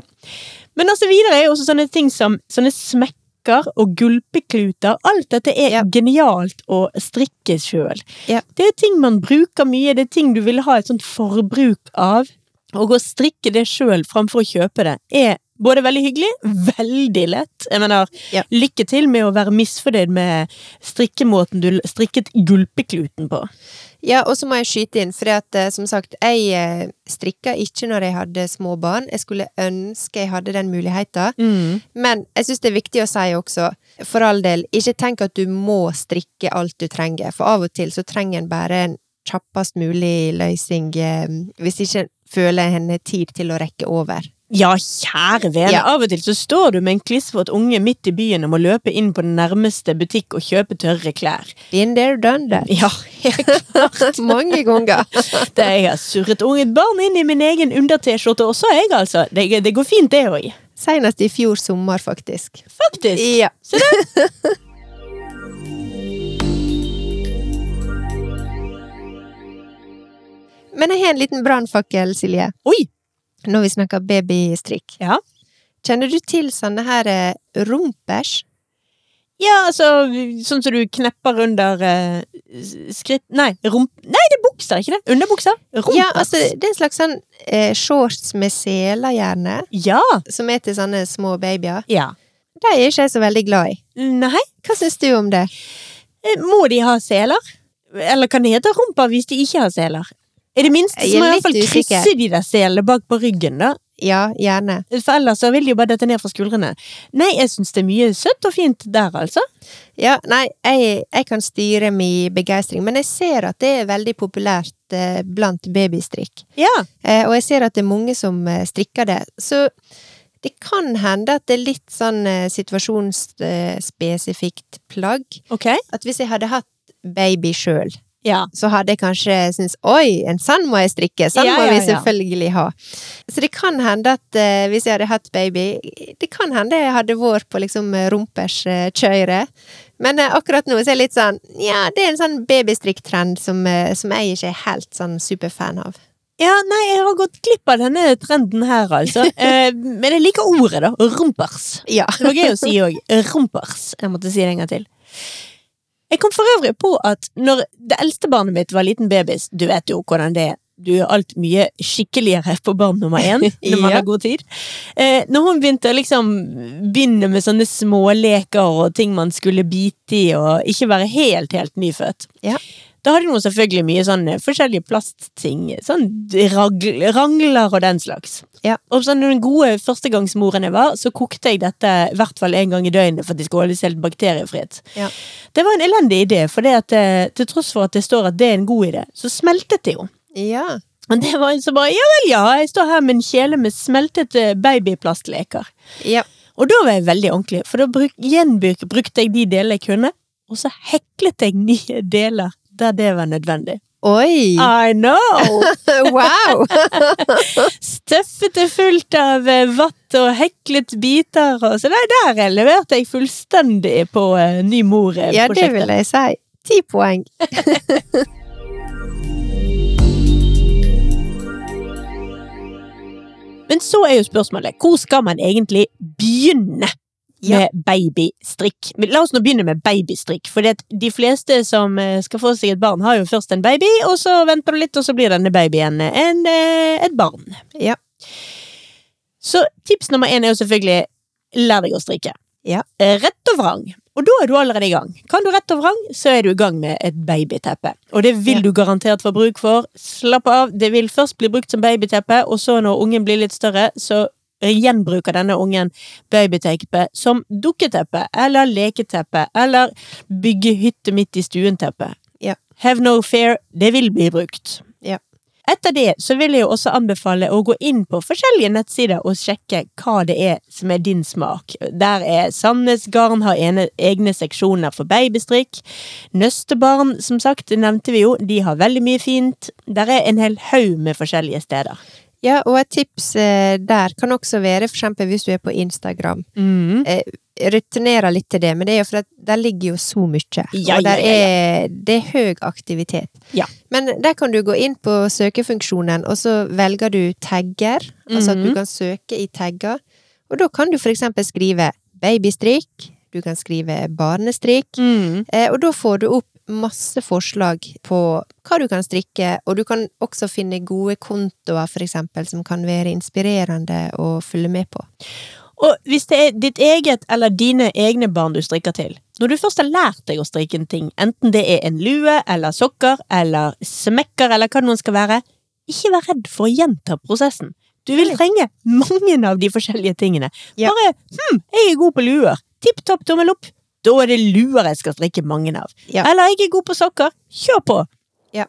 Speaker 2: Men altså videre er jo også sånne ting som sånne smekker strikker og gulpekluter. Alt dette er
Speaker 3: Ja.
Speaker 2: genialt å strikke sjøl.
Speaker 3: Ja.
Speaker 2: Det er ting man bruker mye, det er ting du vil ha et sånt forbruk av. Og å strikke det sjøl framfor å kjøpe det er både veldig hyggelig, veldig lett. Jeg mener,
Speaker 3: Ja.
Speaker 2: lykke til med å være misfornøyd med strikkemåten du l- strikket gulpekluten på.
Speaker 3: Ja, og så må jeg skyte inn, for som sagt, jeg eh, strikka ikke når jeg hadde små barn. Jeg skulle ønske jeg hadde den muligheten.
Speaker 2: Mm.
Speaker 3: Men jeg syns det er viktig å si også, for all del, ikke tenk at du må strikke alt du trenger, for av og til så trenger en bare en kjappest mulig løsning eh, hvis ikke en føler en har tid til å rekke over.
Speaker 2: Ja, kjære vene.
Speaker 3: Ja.
Speaker 2: Av og til så står du med en klissvåt unge midt i byen og må løpe inn på den nærmeste butikk og kjøpe tørre klær.
Speaker 3: Been there, done that.
Speaker 2: Ja, [LAUGHS]
Speaker 3: Mange ganger.
Speaker 2: det jeg har surret unge barn inn i min egen under-T-skjorte også, jeg, altså. Det, det går fint, det òg.
Speaker 3: Senest i fjor sommer, faktisk.
Speaker 2: Faktisk.
Speaker 3: Ja. [LAUGHS] Men jeg har en liten brannfakkel, Silje,
Speaker 2: Oi!
Speaker 3: når vi snakker babystrikk.
Speaker 2: Ja.
Speaker 3: Kjenner du til sånne her eh, rumpers?
Speaker 2: Ja, altså, sånn som du knepper under eh, s- skritt Nei, rump... Nei, det er bukser, ikke det? Underbukser? Rumpers.
Speaker 3: Ja, altså, det er en slags sånn eh, shorts med seler, gjerne,
Speaker 2: Ja.
Speaker 3: som er til sånne små babyer.
Speaker 2: ja.
Speaker 3: De er ikke jeg så veldig glad i.
Speaker 2: Nei.
Speaker 3: Hva syns du om det?
Speaker 2: Eh, Må de ha seler? Eller kan det hete rumper hvis de ikke har seler? I det minste
Speaker 3: Jeg
Speaker 2: så
Speaker 3: er
Speaker 2: må jeg i
Speaker 3: litt
Speaker 2: hvert fall
Speaker 3: usikker.
Speaker 2: krysse de der selene bak på ryggen, da.
Speaker 3: Ja, gjerne.
Speaker 2: For ellers så vil de jo bare dette ned fra skuldrene. Nei, jeg syns det er mye søtt og fint der, altså.
Speaker 3: Ja, nei, jeg, jeg kan styre min begeistring, men jeg ser at det er veldig populært eh, blant babystrikk.
Speaker 2: Ja.
Speaker 3: Eh, og jeg ser at det er mange som eh, strikker det. Så det kan hende at det er litt sånn eh, situasjonsspesifikt plagg.
Speaker 2: Ok.
Speaker 3: At hvis jeg hadde hatt baby sjøl,
Speaker 2: Ja.
Speaker 3: så hadde jeg kanskje syntes oi, en sånn må jeg strikke, sånn
Speaker 2: Ja,
Speaker 3: må
Speaker 2: ja,
Speaker 3: vi
Speaker 2: ja.
Speaker 3: selvfølgelig ha. Så det kan hende at eh, hvis jeg hadde hatt baby, det kan hende jeg hadde vært på liksom eh, rumpers eh, kjøre. Men eh, akkurat nå så er jeg litt sånn ja, det er en sånn babystrikktrend som, eh, som jeg ikke er helt sånn superfan av.
Speaker 2: Ja, nei, jeg har gått glipp av denne trenden her, [LAUGHS] altså. Eh, men jeg liker ordet, da. Rumpers.
Speaker 3: Ja.
Speaker 2: Det var gøy å si òg. Rumpers. Jeg måtte si det en gang til. Jeg kom for øvrig på at når det eldste barnet mitt var liten babys Du vet jo hvordan det er. Du gjør alt mye skikkeligere på barn nummer
Speaker 3: [LAUGHS]
Speaker 2: én når man
Speaker 3: Ja.
Speaker 2: har god tid. Eh, når hun begynte å liksom begynne med sånne småleker og ting man skulle bite i, og ikke være helt, helt nyfødt
Speaker 3: Ja.
Speaker 2: Da hadde hun selvfølgelig mye sånn eh, forskjellige plastting. Sånn ragl, rangler og den slags. Og sånn den gode førstegangsmoren jeg var, så kokte jeg dette i hvert fall en gang i døgnet for at det skulle holdes helt bakteriefritt.
Speaker 3: Ja.
Speaker 2: Det var en elendig idé, for det at, eh, til tross for at det står at det er en god idé, så smeltet det jo.
Speaker 3: Ja.
Speaker 2: Men det var en som bare ja vel, ja, jeg står her med en kjele med smeltet eh, babyplastleker.
Speaker 3: ja.
Speaker 2: Og da var jeg veldig ordentlig, for da bruk, gjenbruk, brukte jeg de delene jeg kunne, og så heklet jeg nye deler der det var nødvendig.
Speaker 3: Oi!
Speaker 2: I know!
Speaker 3: [LAUGHS]
Speaker 2: [LAUGHS]
Speaker 3: Wow!
Speaker 2: Støffet det fullt av eh, vatt og heklet biter og så der, der leverte jeg fullstendig på eh, ny
Speaker 3: Ja, det vil
Speaker 2: mor-prosjektet.
Speaker 3: jeg si. Ti poeng.
Speaker 2: Men så er jo spørsmålet, hvor skal man egentlig begynne?
Speaker 3: Ja.
Speaker 2: Med babystrikk. Men La oss nå begynne med babystrikk. For de fleste som eh, skal få seg et barn, har jo først en baby, og så venter du litt, og så blir denne babyen eh, en, eh, et barn.
Speaker 3: Ja.
Speaker 2: Så tips nummer én er jo selvfølgelig lær deg å strikke.
Speaker 3: Ja.
Speaker 2: Eh, Rett og vrang. Og da er du allerede i gang. Kan du rett og vrang, så er du i gang med et babyteppe. Og det vil
Speaker 3: Ja.
Speaker 2: du garantert få bruk for. Slapp av, det vil først bli brukt som babyteppe, og så når ungen blir litt større, så eh, gjenbruker denne ungen babyteppet som dukketeppe, eller leketeppe, eller bygge hytte midt i stuen-teppe.
Speaker 3: Ja.
Speaker 2: Have no fear, det vil bli brukt.
Speaker 3: Ja.
Speaker 2: Etter det så vil jeg jo også anbefale å gå inn på forskjellige nettsider og sjekke hva det er som er din smak. Der er Sandnes Garn har ene, egne seksjoner for babystrikk. Nøstebarn, som sagt, nevnte vi jo, de har veldig mye fint. Der er en hel haug med forskjellige steder.
Speaker 3: Ja, og et tips eh, der kan også være for eksempel hvis du er på Instagram. Returnerer litt til det, men det er jo for at der ligger jo så mye.
Speaker 2: Ja,
Speaker 3: og der
Speaker 2: ja, ja,
Speaker 3: er det er høy aktivitet.
Speaker 2: Ja.
Speaker 3: Men der kan du gå inn på søkefunksjonen, og så velger du tagger.
Speaker 2: Mhm.
Speaker 3: Altså at du kan søke i tagger. Og da kan du for eksempel skrive babystrikk, Du kan skrive barnestrikk.
Speaker 2: Mm.
Speaker 3: Eh, og da får du opp masse forslag på hva du kan strikke, og du kan også finne gode kontoer, for eksempel, som kan være inspirerende å følge med på.
Speaker 2: Og hvis det er ditt eget eller dine egne barn du strikker til, når du først har lært deg å strikke en ting, enten det er en lue eller sokker eller smekker eller hva det nå skal være, ikke vær redd for å gjenta prosessen. Du vil
Speaker 3: Nei.
Speaker 2: trenge mange av de forskjellige tingene.
Speaker 3: Ja.
Speaker 2: Bare hm, jeg er god på luer. Tipp topp tommel opp. Da er det luer jeg skal strikke mange av.
Speaker 3: Ja.
Speaker 2: Eller jeg er god på sokker. Kjør på!
Speaker 3: Ja.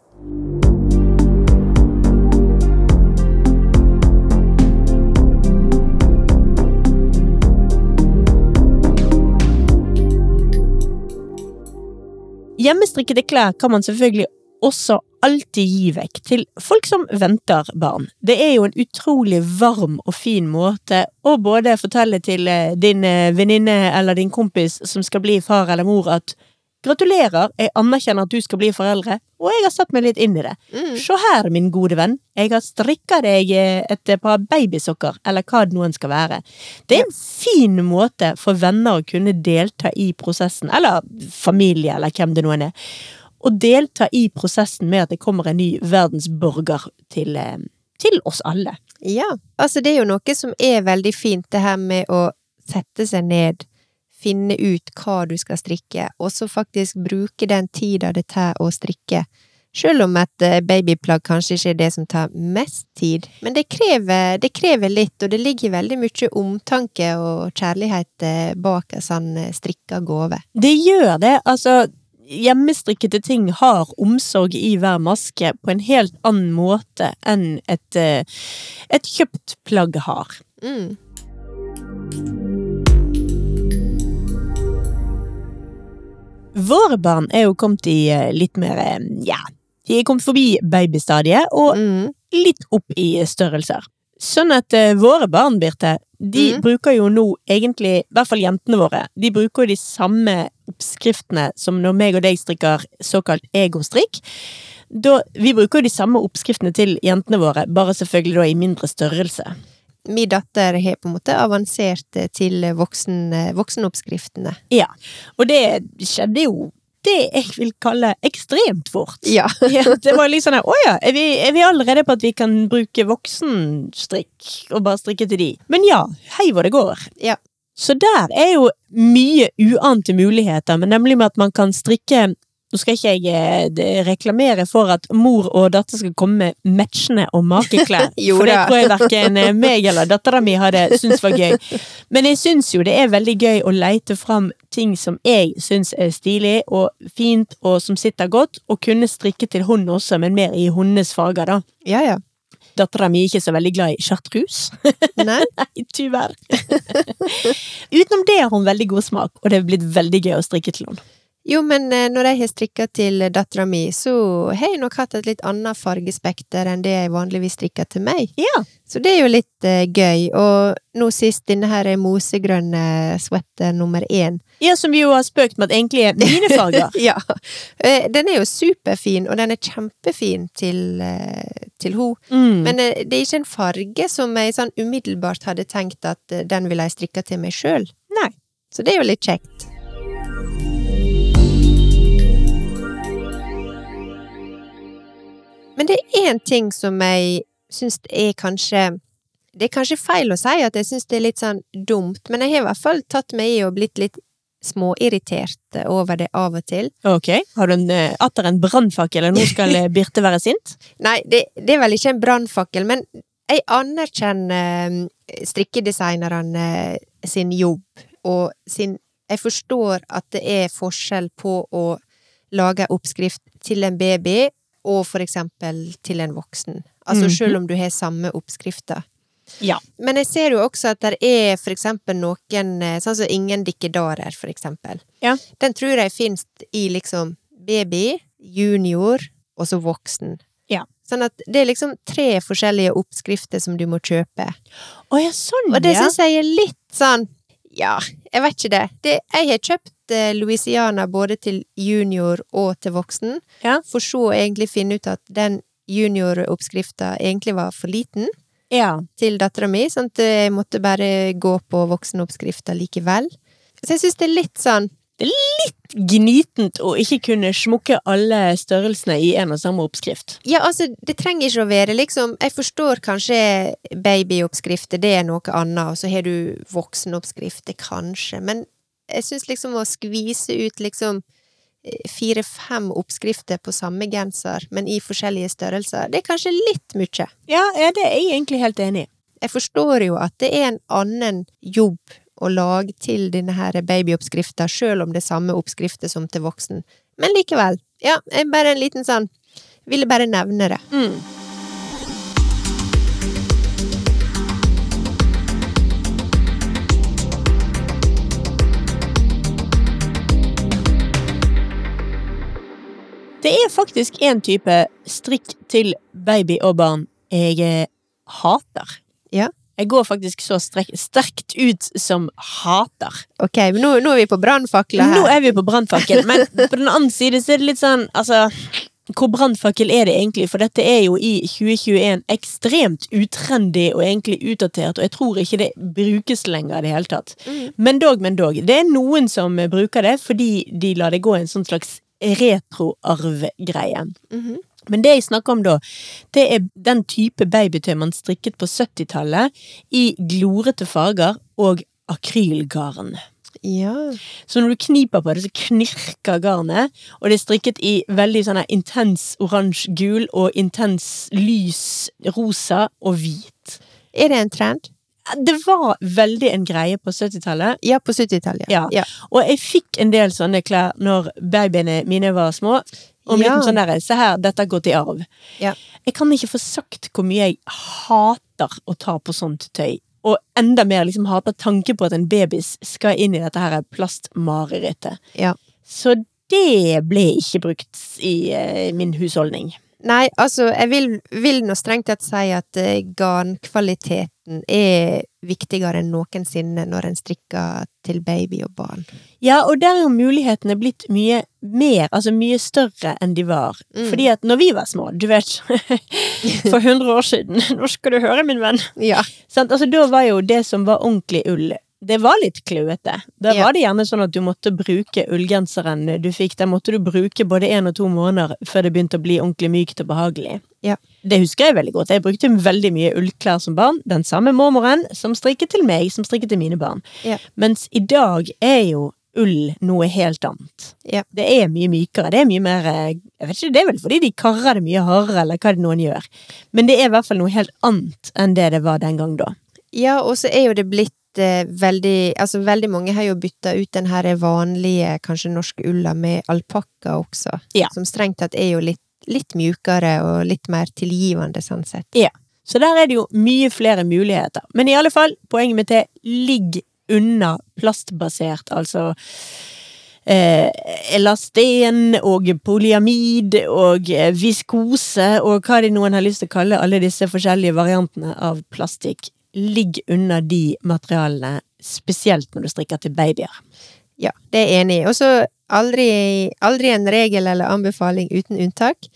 Speaker 2: Hjemmestrikkede klær kan man selvfølgelig også alltid gi vekk til folk som venter barn. Det er jo en utrolig varm og fin måte å både fortelle til eh, din eh, venninne eller din kompis som skal bli far eller mor at gratulerer, jeg anerkjenner at du skal bli foreldre, og jeg har satt meg litt inn i det.
Speaker 3: Mm.
Speaker 2: Se her, min gode venn, jeg har strikka deg eh, et par babysokker, eller hva det noen skal være. Det er en fin måte for venner å kunne delta i prosessen, eller familie, eller hvem det noen er. Å delta i prosessen med at det kommer en ny verdensborger til, eh, til oss alle.
Speaker 3: Ja. Altså, det er jo noe som er veldig fint, det her med å sette seg ned, finne ut hva du skal strikke, og så faktisk bruke den tida det tar å strikke. Selv om et eh, babyplagg kanskje ikke er det som tar mest tid, men det krever, det krever litt, og det ligger veldig mye omtanke og kjærlighet eh, bak en sånn eh, strikka gave.
Speaker 2: Det gjør det. Altså, hjemmestrikkede ting har omsorg i hver maske på en helt annen måte enn et, eh, et kjøpt plagg har.
Speaker 3: Mm.
Speaker 2: Våre barn er jo kommet i eh, litt mer eh, Ja, de er kommet forbi babystadiet og
Speaker 3: Mm.
Speaker 2: litt opp i størrelser. Sånn at eh, våre barn, Birte, de
Speaker 3: Mhm.
Speaker 2: bruker jo nå egentlig, i hvert fall jentene våre, de bruker jo de samme oppskriftene som når meg og deg strikker såkalt egostrikk. Da, vi bruker jo de samme oppskriftene til jentene våre, bare selvfølgelig da i mindre størrelse.
Speaker 3: Min datter har på en måte avansert eh, til eh, voksen, eh, voksenoppskriftene.
Speaker 2: Ja. Og det skjedde jo det jeg vil kalle ekstremt fort.
Speaker 3: Ja.
Speaker 2: [LAUGHS] Ja, det var litt sånn her, åja, er vi, er vi allerede på at vi kan bruke voksenstrikk og bare strikke til de? Men ja, hei hvor det går.
Speaker 3: Ja.
Speaker 2: Så der er jo mye uante muligheter, men nemlig med at man kan strikke nå skal ikke jeg eh, de- reklamere for at mor og datter skal komme med matchende og makeklær.
Speaker 3: [LAUGHS] Jo
Speaker 2: for det
Speaker 3: da.
Speaker 2: tror jeg verken eh, meg eller dattera mi hadde syntes var gøy. Men jeg syns jo det er veldig gøy å leite fram ting som jeg syns er stilig og fint og som sitter godt, og kunne strikke til hun også, men mer i hennes farger, da.
Speaker 3: Ja, ja.
Speaker 2: Dattera mi er ikke så veldig glad i chartreuse.
Speaker 3: Nei?
Speaker 2: Nei, tyvärr. [LAUGHS] Utenom det har hun veldig god smak, og det er blitt veldig gøy å strikke til henne.
Speaker 3: Jo, men eh, når jeg har strikka til dattera mi, så har jeg nok hatt et litt annet fargespekter enn det jeg vanligvis strikker til meg.
Speaker 2: Ja.
Speaker 3: Så det er jo litt eh, gøy. Og nå sist denne her mosegrønne sweater nummer én.
Speaker 2: ja, som vi jo har spøkt med at egentlig er [LAUGHS] mine farger.
Speaker 3: Ja. Eh, Den er jo superfin, og den er kjempefin til, eh, til ho.
Speaker 2: Mm.
Speaker 3: Men eh, det er ikke en farge som jeg sånn umiddelbart hadde tenkt at eh, den ville jeg strikka til meg sjøl.
Speaker 2: Nei.
Speaker 3: Så det er jo litt kjekt. Men det er én ting som jeg syns er kanskje Det er kanskje feil å si at jeg syns det er litt sånn dumt, men jeg har i hvert fall tatt meg i og blitt litt småirritert over det av og til.
Speaker 2: Ok, har du en, eh, atter en brannfakkel, eller nå skal eh, Birte være sint?
Speaker 3: Nei, det, det er vel ikke en brannfakkel, men jeg anerkjenner mm, strikkedesignerne eh, sin jobb, og sin Jeg forstår at det er forskjell på å lage en oppskrift til en baby og for eksempel til en voksen. Altså
Speaker 2: Mhm.
Speaker 3: selv om du har samme oppskrifter.
Speaker 2: Ja.
Speaker 3: Men jeg ser jo også at det er for eksempel noen eh, Sånn som Ingen dikkedarer, for eksempel.
Speaker 2: Ja.
Speaker 3: Den tror jeg finnes i liksom baby, junior og så voksen.
Speaker 2: Ja.
Speaker 3: Sånn at det er liksom tre forskjellige oppskrifter som du må kjøpe.
Speaker 2: Å ja, sånn,
Speaker 3: Og det
Speaker 2: ja.
Speaker 3: syns jeg er litt sånn Ja, jeg vet ikke det. det jeg har kjøpt eh, Louisiana både til junior og til voksen,
Speaker 2: Ja.
Speaker 3: for så å egentlig finne ut at den junioroppskrifta egentlig var for liten
Speaker 2: Ja.
Speaker 3: til dattera mi, sånn at jeg måtte bare gå på voksenoppskrifta likevel. Så jeg syns det er litt sånn
Speaker 2: Gnitent å ikke kunne smukke alle størrelsene i en og samme oppskrift.
Speaker 3: Ja, altså, det trenger ikke å være liksom Jeg forstår kanskje babyoppskrifter, det er noe annet, og så har du voksenoppskrifter, kanskje, men jeg syns liksom å skvise ut liksom fire-fem oppskrifter på samme genser, men i forskjellige størrelser, det er kanskje litt mye.
Speaker 2: Ja, ja, det er jeg egentlig helt enig i.
Speaker 3: Jeg forstår jo at det er en annen jobb å lage til denne her babyoppskrifta, sjøl om det er samme oppskrifter som til voksen, men likevel. Ja, jeg bare en liten sånn Ville bare nevne det.
Speaker 2: Mm. Det er faktisk en type strikk til baby og barn jeg eh, hater.
Speaker 3: Ja.
Speaker 2: Jeg går faktisk så strek, sterkt ut som hater.
Speaker 3: Ok, men nå, nå er vi på brannfakla her.
Speaker 2: Nå er vi på brannfakkel, men på den annen side så er det litt sånn Altså, hvor brannfakkel er det egentlig? For dette er jo i 2021 ekstremt utrendy og egentlig utdatert, og jeg tror ikke det brukes lenger i det hele tatt.
Speaker 3: Mm.
Speaker 2: Men dog, men dog. Det er noen som bruker det fordi de lar det gå en sånn slags retroarvgreie.
Speaker 3: Mhm.
Speaker 2: Men det jeg snakker om da, det er den type babytøy man strikket på 70-tallet i glorete farger og akrylgarn.
Speaker 3: Ja.
Speaker 2: Så når du kniper på det, så knirker garnet, og det er strikket i veldig sånn her intens oransje-gul og intens lys rosa og hvit.
Speaker 3: Er det en trend?
Speaker 2: Det var veldig en greie på 70-tallet,
Speaker 3: Ja, på 70-tallet.
Speaker 2: Ja.
Speaker 3: Ja.
Speaker 2: og jeg fikk en del sånne klær når babyene mine var små. Om
Speaker 3: Ja.
Speaker 2: litt sånn der, se her, dette har gått i arv.
Speaker 3: Ja.
Speaker 2: Jeg kan ikke få sagt hvor mye jeg hater å ta på sånt tøy. Og enda mer liksom hater tanken på at en babys skal inn i dette her plastmarerittet.
Speaker 3: Ja.
Speaker 2: Så det ble ikke brukt i eh, min husholdning.
Speaker 3: Nei, altså, jeg vil, vil nå strengt tatt si at eh, garnkvaliteten er viktigere enn noensinne når en strikker til baby og barn.
Speaker 2: Ja, og der er jo mulighetene blitt mye mer, altså mye større enn de var.
Speaker 3: Mm.
Speaker 2: Fordi at når vi var små, du vet [LAUGHS] For 100 år siden. [LAUGHS] Nå skal du høre, min venn.
Speaker 3: Ja.
Speaker 2: Sant? Altså, da var jo det som var ordentlig ull, det var litt kløete. Da
Speaker 3: Ja.
Speaker 2: var det gjerne sånn at du måtte bruke ullgenseren du fikk. Der måtte du bruke både én og to måneder før det begynte å bli ordentlig mykt og behagelig.
Speaker 3: Ja.
Speaker 2: Det husker jeg veldig godt. Jeg brukte veldig mye ullklær som barn. Den samme mormoren som strikket til meg, som strikket til mine barn.
Speaker 3: Ja.
Speaker 2: Mens i dag er jo ull noe helt annet.
Speaker 3: Ja.
Speaker 2: Det er mye mykere. Det er mye mer eh, Jeg vet ikke, det er vel fordi de karrer det mye hardere, eller hva det noen gjør. Men det er i hvert fall noe helt annet enn det det var den gang da.
Speaker 3: Ja, og så er jo det blitt eh, veldig Altså, veldig mange har jo bytta ut den her vanlige, kanskje norske ulla med alpakka også,
Speaker 2: Ja.
Speaker 3: som strengt tatt er jo litt, litt mjukere og litt mer tilgivende, sånn sett.
Speaker 2: Så der er det jo mye flere muligheter. Men i alle fall, poenget mitt er ligg unna plastbasert, altså eh, elasten og polyamid og eh, viskose og hva de noen har lyst til å kalle alle disse forskjellige variantene av plastikk. Ligg unna de materialene, spesielt når du strikker til babyer.
Speaker 3: Ja, det er jeg enig i. Og så aldri, aldri en regel eller anbefaling uten unntak.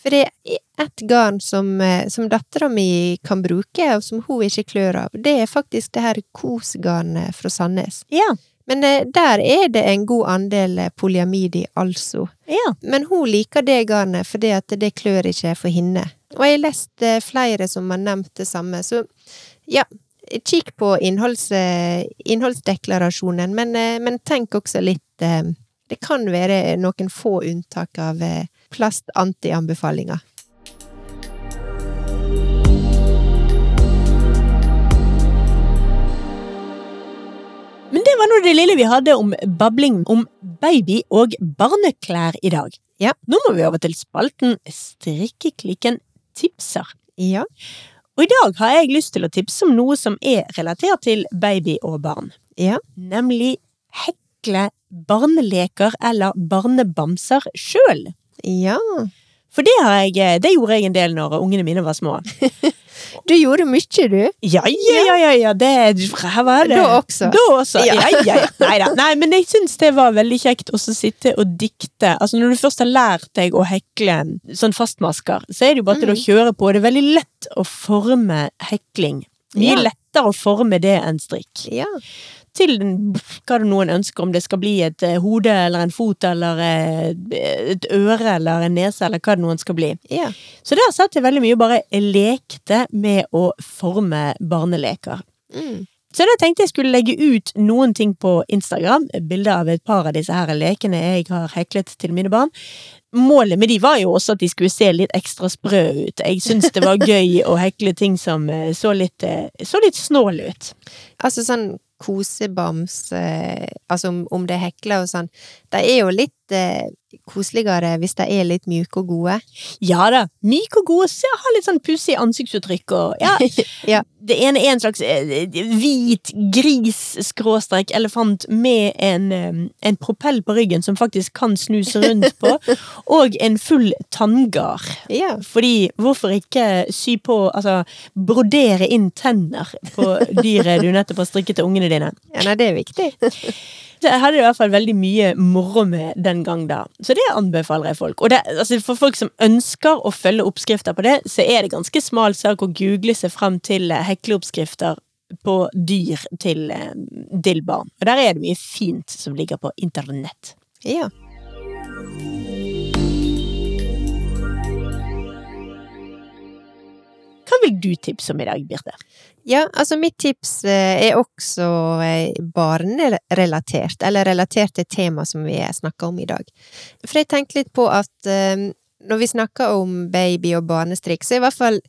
Speaker 3: For det er ett garn som, eh, som dattera mi kan bruke, og som hun ikke klør av. Det er faktisk det her kosgarnet fra Sandnes.
Speaker 2: Ja,
Speaker 3: Men eh, der er det en god andel eh, polyamid i, altså.
Speaker 2: ja.
Speaker 3: Men hun liker det garnet, fordi at det klør ikke for henne. Og jeg har lest eh, flere som har nevnt det samme, så ja. Kikk på innholds, eh, innholdsdeklarasjonen, men, eh, men tenk også litt eh, Det kan være noen få unntak av eh, plastantianbefalinger.
Speaker 2: Men det var nå det lille vi hadde om babling om baby- og barneklær i dag.
Speaker 3: Ja.
Speaker 2: Nå må vi over til spalten Strikkeklikken tipser.
Speaker 3: Ja.
Speaker 2: Og i dag har jeg lyst til å tipse om noe som er relatert til baby og barn.
Speaker 3: Ja.
Speaker 2: Nemlig hekle barneleker eller barnebamser sjøl.
Speaker 3: ja.
Speaker 2: For det, har jeg, eh, det gjorde jeg en del når ungene mine var små.
Speaker 3: Du gjorde mye, du.
Speaker 2: Ja, ja, ja, ja, ja det Her var det.
Speaker 3: Da også.
Speaker 2: Da også. Ja,
Speaker 3: Ja.
Speaker 2: ja, ja. Neida. Nei, men jeg syns det var veldig kjekt også å sitte og dikte. Altså, når du først har lært deg å hekle en sånn fastmasker, så er det jo bare til å
Speaker 3: Mhm.
Speaker 2: kjøre på. Det er veldig lett å forme hekling. Mye
Speaker 3: Ja.
Speaker 2: lettere å forme det enn strikk.
Speaker 3: Ja.
Speaker 2: til den- hva det noen ønsker, om det skal bli et eh, hode eller en fot eller eh, et øre eller en nese eller hva det noen skal bli.
Speaker 3: Ja.
Speaker 2: Så der satt jeg veldig mye og bare lekte med å forme barneleker.
Speaker 3: Mm.
Speaker 2: Så da tenkte jeg skulle legge ut noen ting på Instagram, bilder av et par av disse her lekene jeg har heklet til mine barn. Målet med de var jo også at de skulle se litt ekstra sprø ut. Jeg syntes det var gøy å hekle ting som eh, så litt, eh, så litt snål ut.
Speaker 3: Altså sånn kosebams eh, Altså om, om det er hekla og sånn. De er jo litt eh, koseligere hvis de er litt mjuke og gode.
Speaker 2: Ja da, myk og god, se, har litt sånn pussig ansiktsuttrykk og ja.
Speaker 3: Ja.
Speaker 2: Det ene er en slags eh, hvit gris-skråstrek elefant med en, eh, en propell på ryggen som faktisk kan snus rundt på, og en full tanngard.
Speaker 3: Ja.
Speaker 2: Fordi hvorfor ikke sy på, altså brodere inn tenner på dyret du nettopp har strikket til ungene dine?
Speaker 3: ja nei, det er viktig.
Speaker 2: Så Jeg hadde i hvert fall veldig mye moro med den gang da, så det anbefaler jeg folk. Og det, altså for folk som ønsker å følge oppskrifter på det, så er det ganske smal sak å google seg frem til eh, hekleoppskrifter på dyr til, eh, til barn. Og der er det mye fint som ligger på internett.
Speaker 3: Ja.
Speaker 2: Hva vil du tipse om i dag, Birte?
Speaker 3: Ja, altså mitt tips eh, er også eh, barnerelatert, eller relatert til tema som vi snakker om i dag. For jeg tenkte litt på at eh, når vi snakker om baby og barnestrikk, så i hvert fall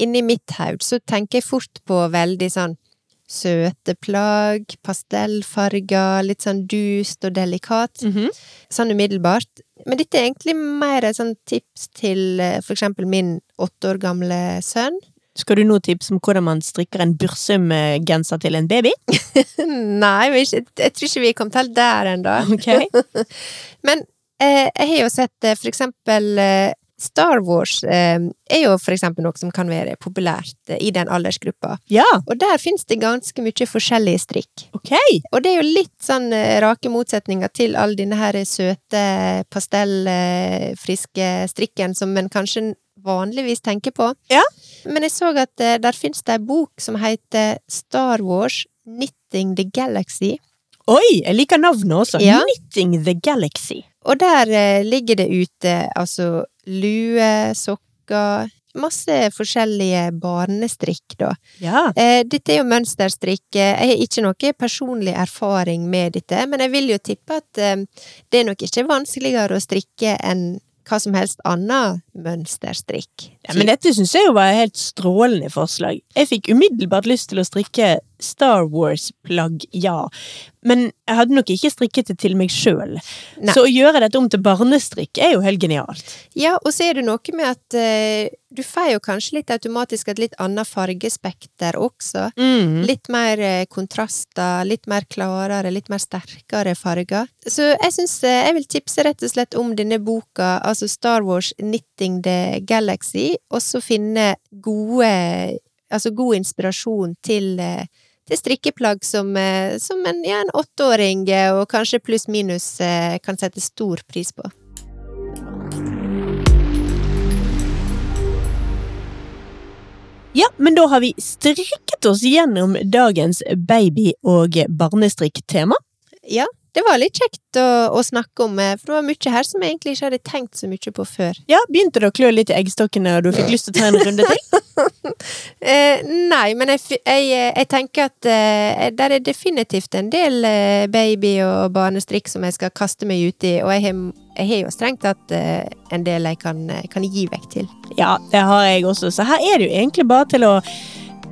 Speaker 3: inni mitt haud så tenker jeg fort på veldig sånn søte plagg, pastellfarger, litt sånn dust og delikat
Speaker 2: Mm.
Speaker 3: sånn umiddelbart. Men dette er egentlig mer et sånt tips til eh, for eksempel min åtte år gamle sønn.
Speaker 2: Skal du nå tipse om hvordan man strikker en bursumgenser til en baby?
Speaker 3: [LAUGHS] Nei, vi er ikke, jeg tror ikke vi er kommet helt der ennå.
Speaker 2: Ok.
Speaker 3: Men eh, jeg har jo sett eh, for eksempel eh, Star Wars eh, er jo for eksempel noe som kan være populært eh, i den aldersgruppa.
Speaker 2: [LAUGHS] Ja,
Speaker 3: Og der finnes det ganske mye forskjellige strikk.
Speaker 2: ok.
Speaker 3: Og det er jo litt sånn eh, rake motsetninger til all denne her søte, pastellfriske strikken som en kanskje vanligvis tenker på.
Speaker 2: Ja.
Speaker 3: Men jeg så at eh, der finnes det ei bok som heter Star Wars Knitting the Galaxy.
Speaker 2: Oi, jeg liker navnet også.
Speaker 3: Ja.
Speaker 2: Knitting the Galaxy.
Speaker 3: Og der eh, ligger det ute altså lue, sokker Masse forskjellige barnestrikk, da.
Speaker 2: Ja.
Speaker 3: Eh, dette er jo mønsterstrikk. Eh, Jeg har ikke noe personlig erfaring med dette, men jeg vil jo tippe at eh, det er nok ikke vanskeligere å strikke enn hva som helst annet mønsterstrikk.
Speaker 2: ja, men dette synes jeg jo var et helt strålende forslag. Jeg fikk umiddelbart lyst til å strikke Star Wars-plagg, ja. Men jeg hadde nok ikke strikket det til meg sjøl.
Speaker 3: Nei.
Speaker 2: Så å gjøre dette om til barnestrikk er jo helt genialt.
Speaker 3: Ja, og så er det noe med at eh, du får jo kanskje litt automatisk et litt annet fargespekter også.
Speaker 2: Mm.
Speaker 3: Litt mer eh, kontraster, litt mer klarere, litt mer sterkere farger. Så jeg syns eh, jeg vil tipse rett og slett om denne boka, altså Star Wars Knitting the Galaxy, og så finne gode Altså god inspirasjon til, eh, til strikkeplagg som, eh, som en, ja, en åtteåring, eh, og kanskje pluss-minus, eh, kan sette stor pris på.
Speaker 2: Ja, men da har vi strikket oss gjennom dagens baby- og barnestrikktema.
Speaker 3: Ja, det var litt kjekt å, å snakke om, eh, for det var mye her som jeg egentlig ikke hadde tenkt så mye på før.
Speaker 2: Ja, begynte det å klø litt i eggstokkene, og du fikk lyst til å ta en runde til?
Speaker 3: [LAUGHS] Eh, nei, men jeg, fi- jeg, eh, jeg tenker at eh, der er definitivt en del eh, baby- og barnestrikk som jeg skal kaste meg ut i, og jeg har, jeg har jo strengt tatt eh, en del jeg kan, eh, kan gi vekk til.
Speaker 2: Ja, det har jeg også, så her er det jo egentlig bare til å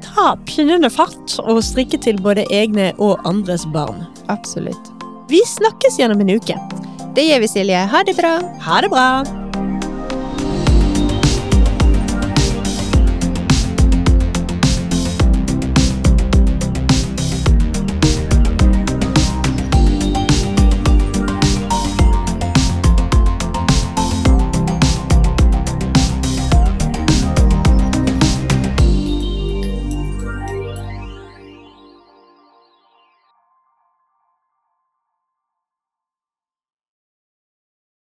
Speaker 2: ta pinnende fart og strikke til både egne og andres barn.
Speaker 3: Absolutt.
Speaker 2: Vi snakkes gjennom en uke.
Speaker 3: Det gjør vi, Silje. Ha det bra!
Speaker 2: Ha det bra!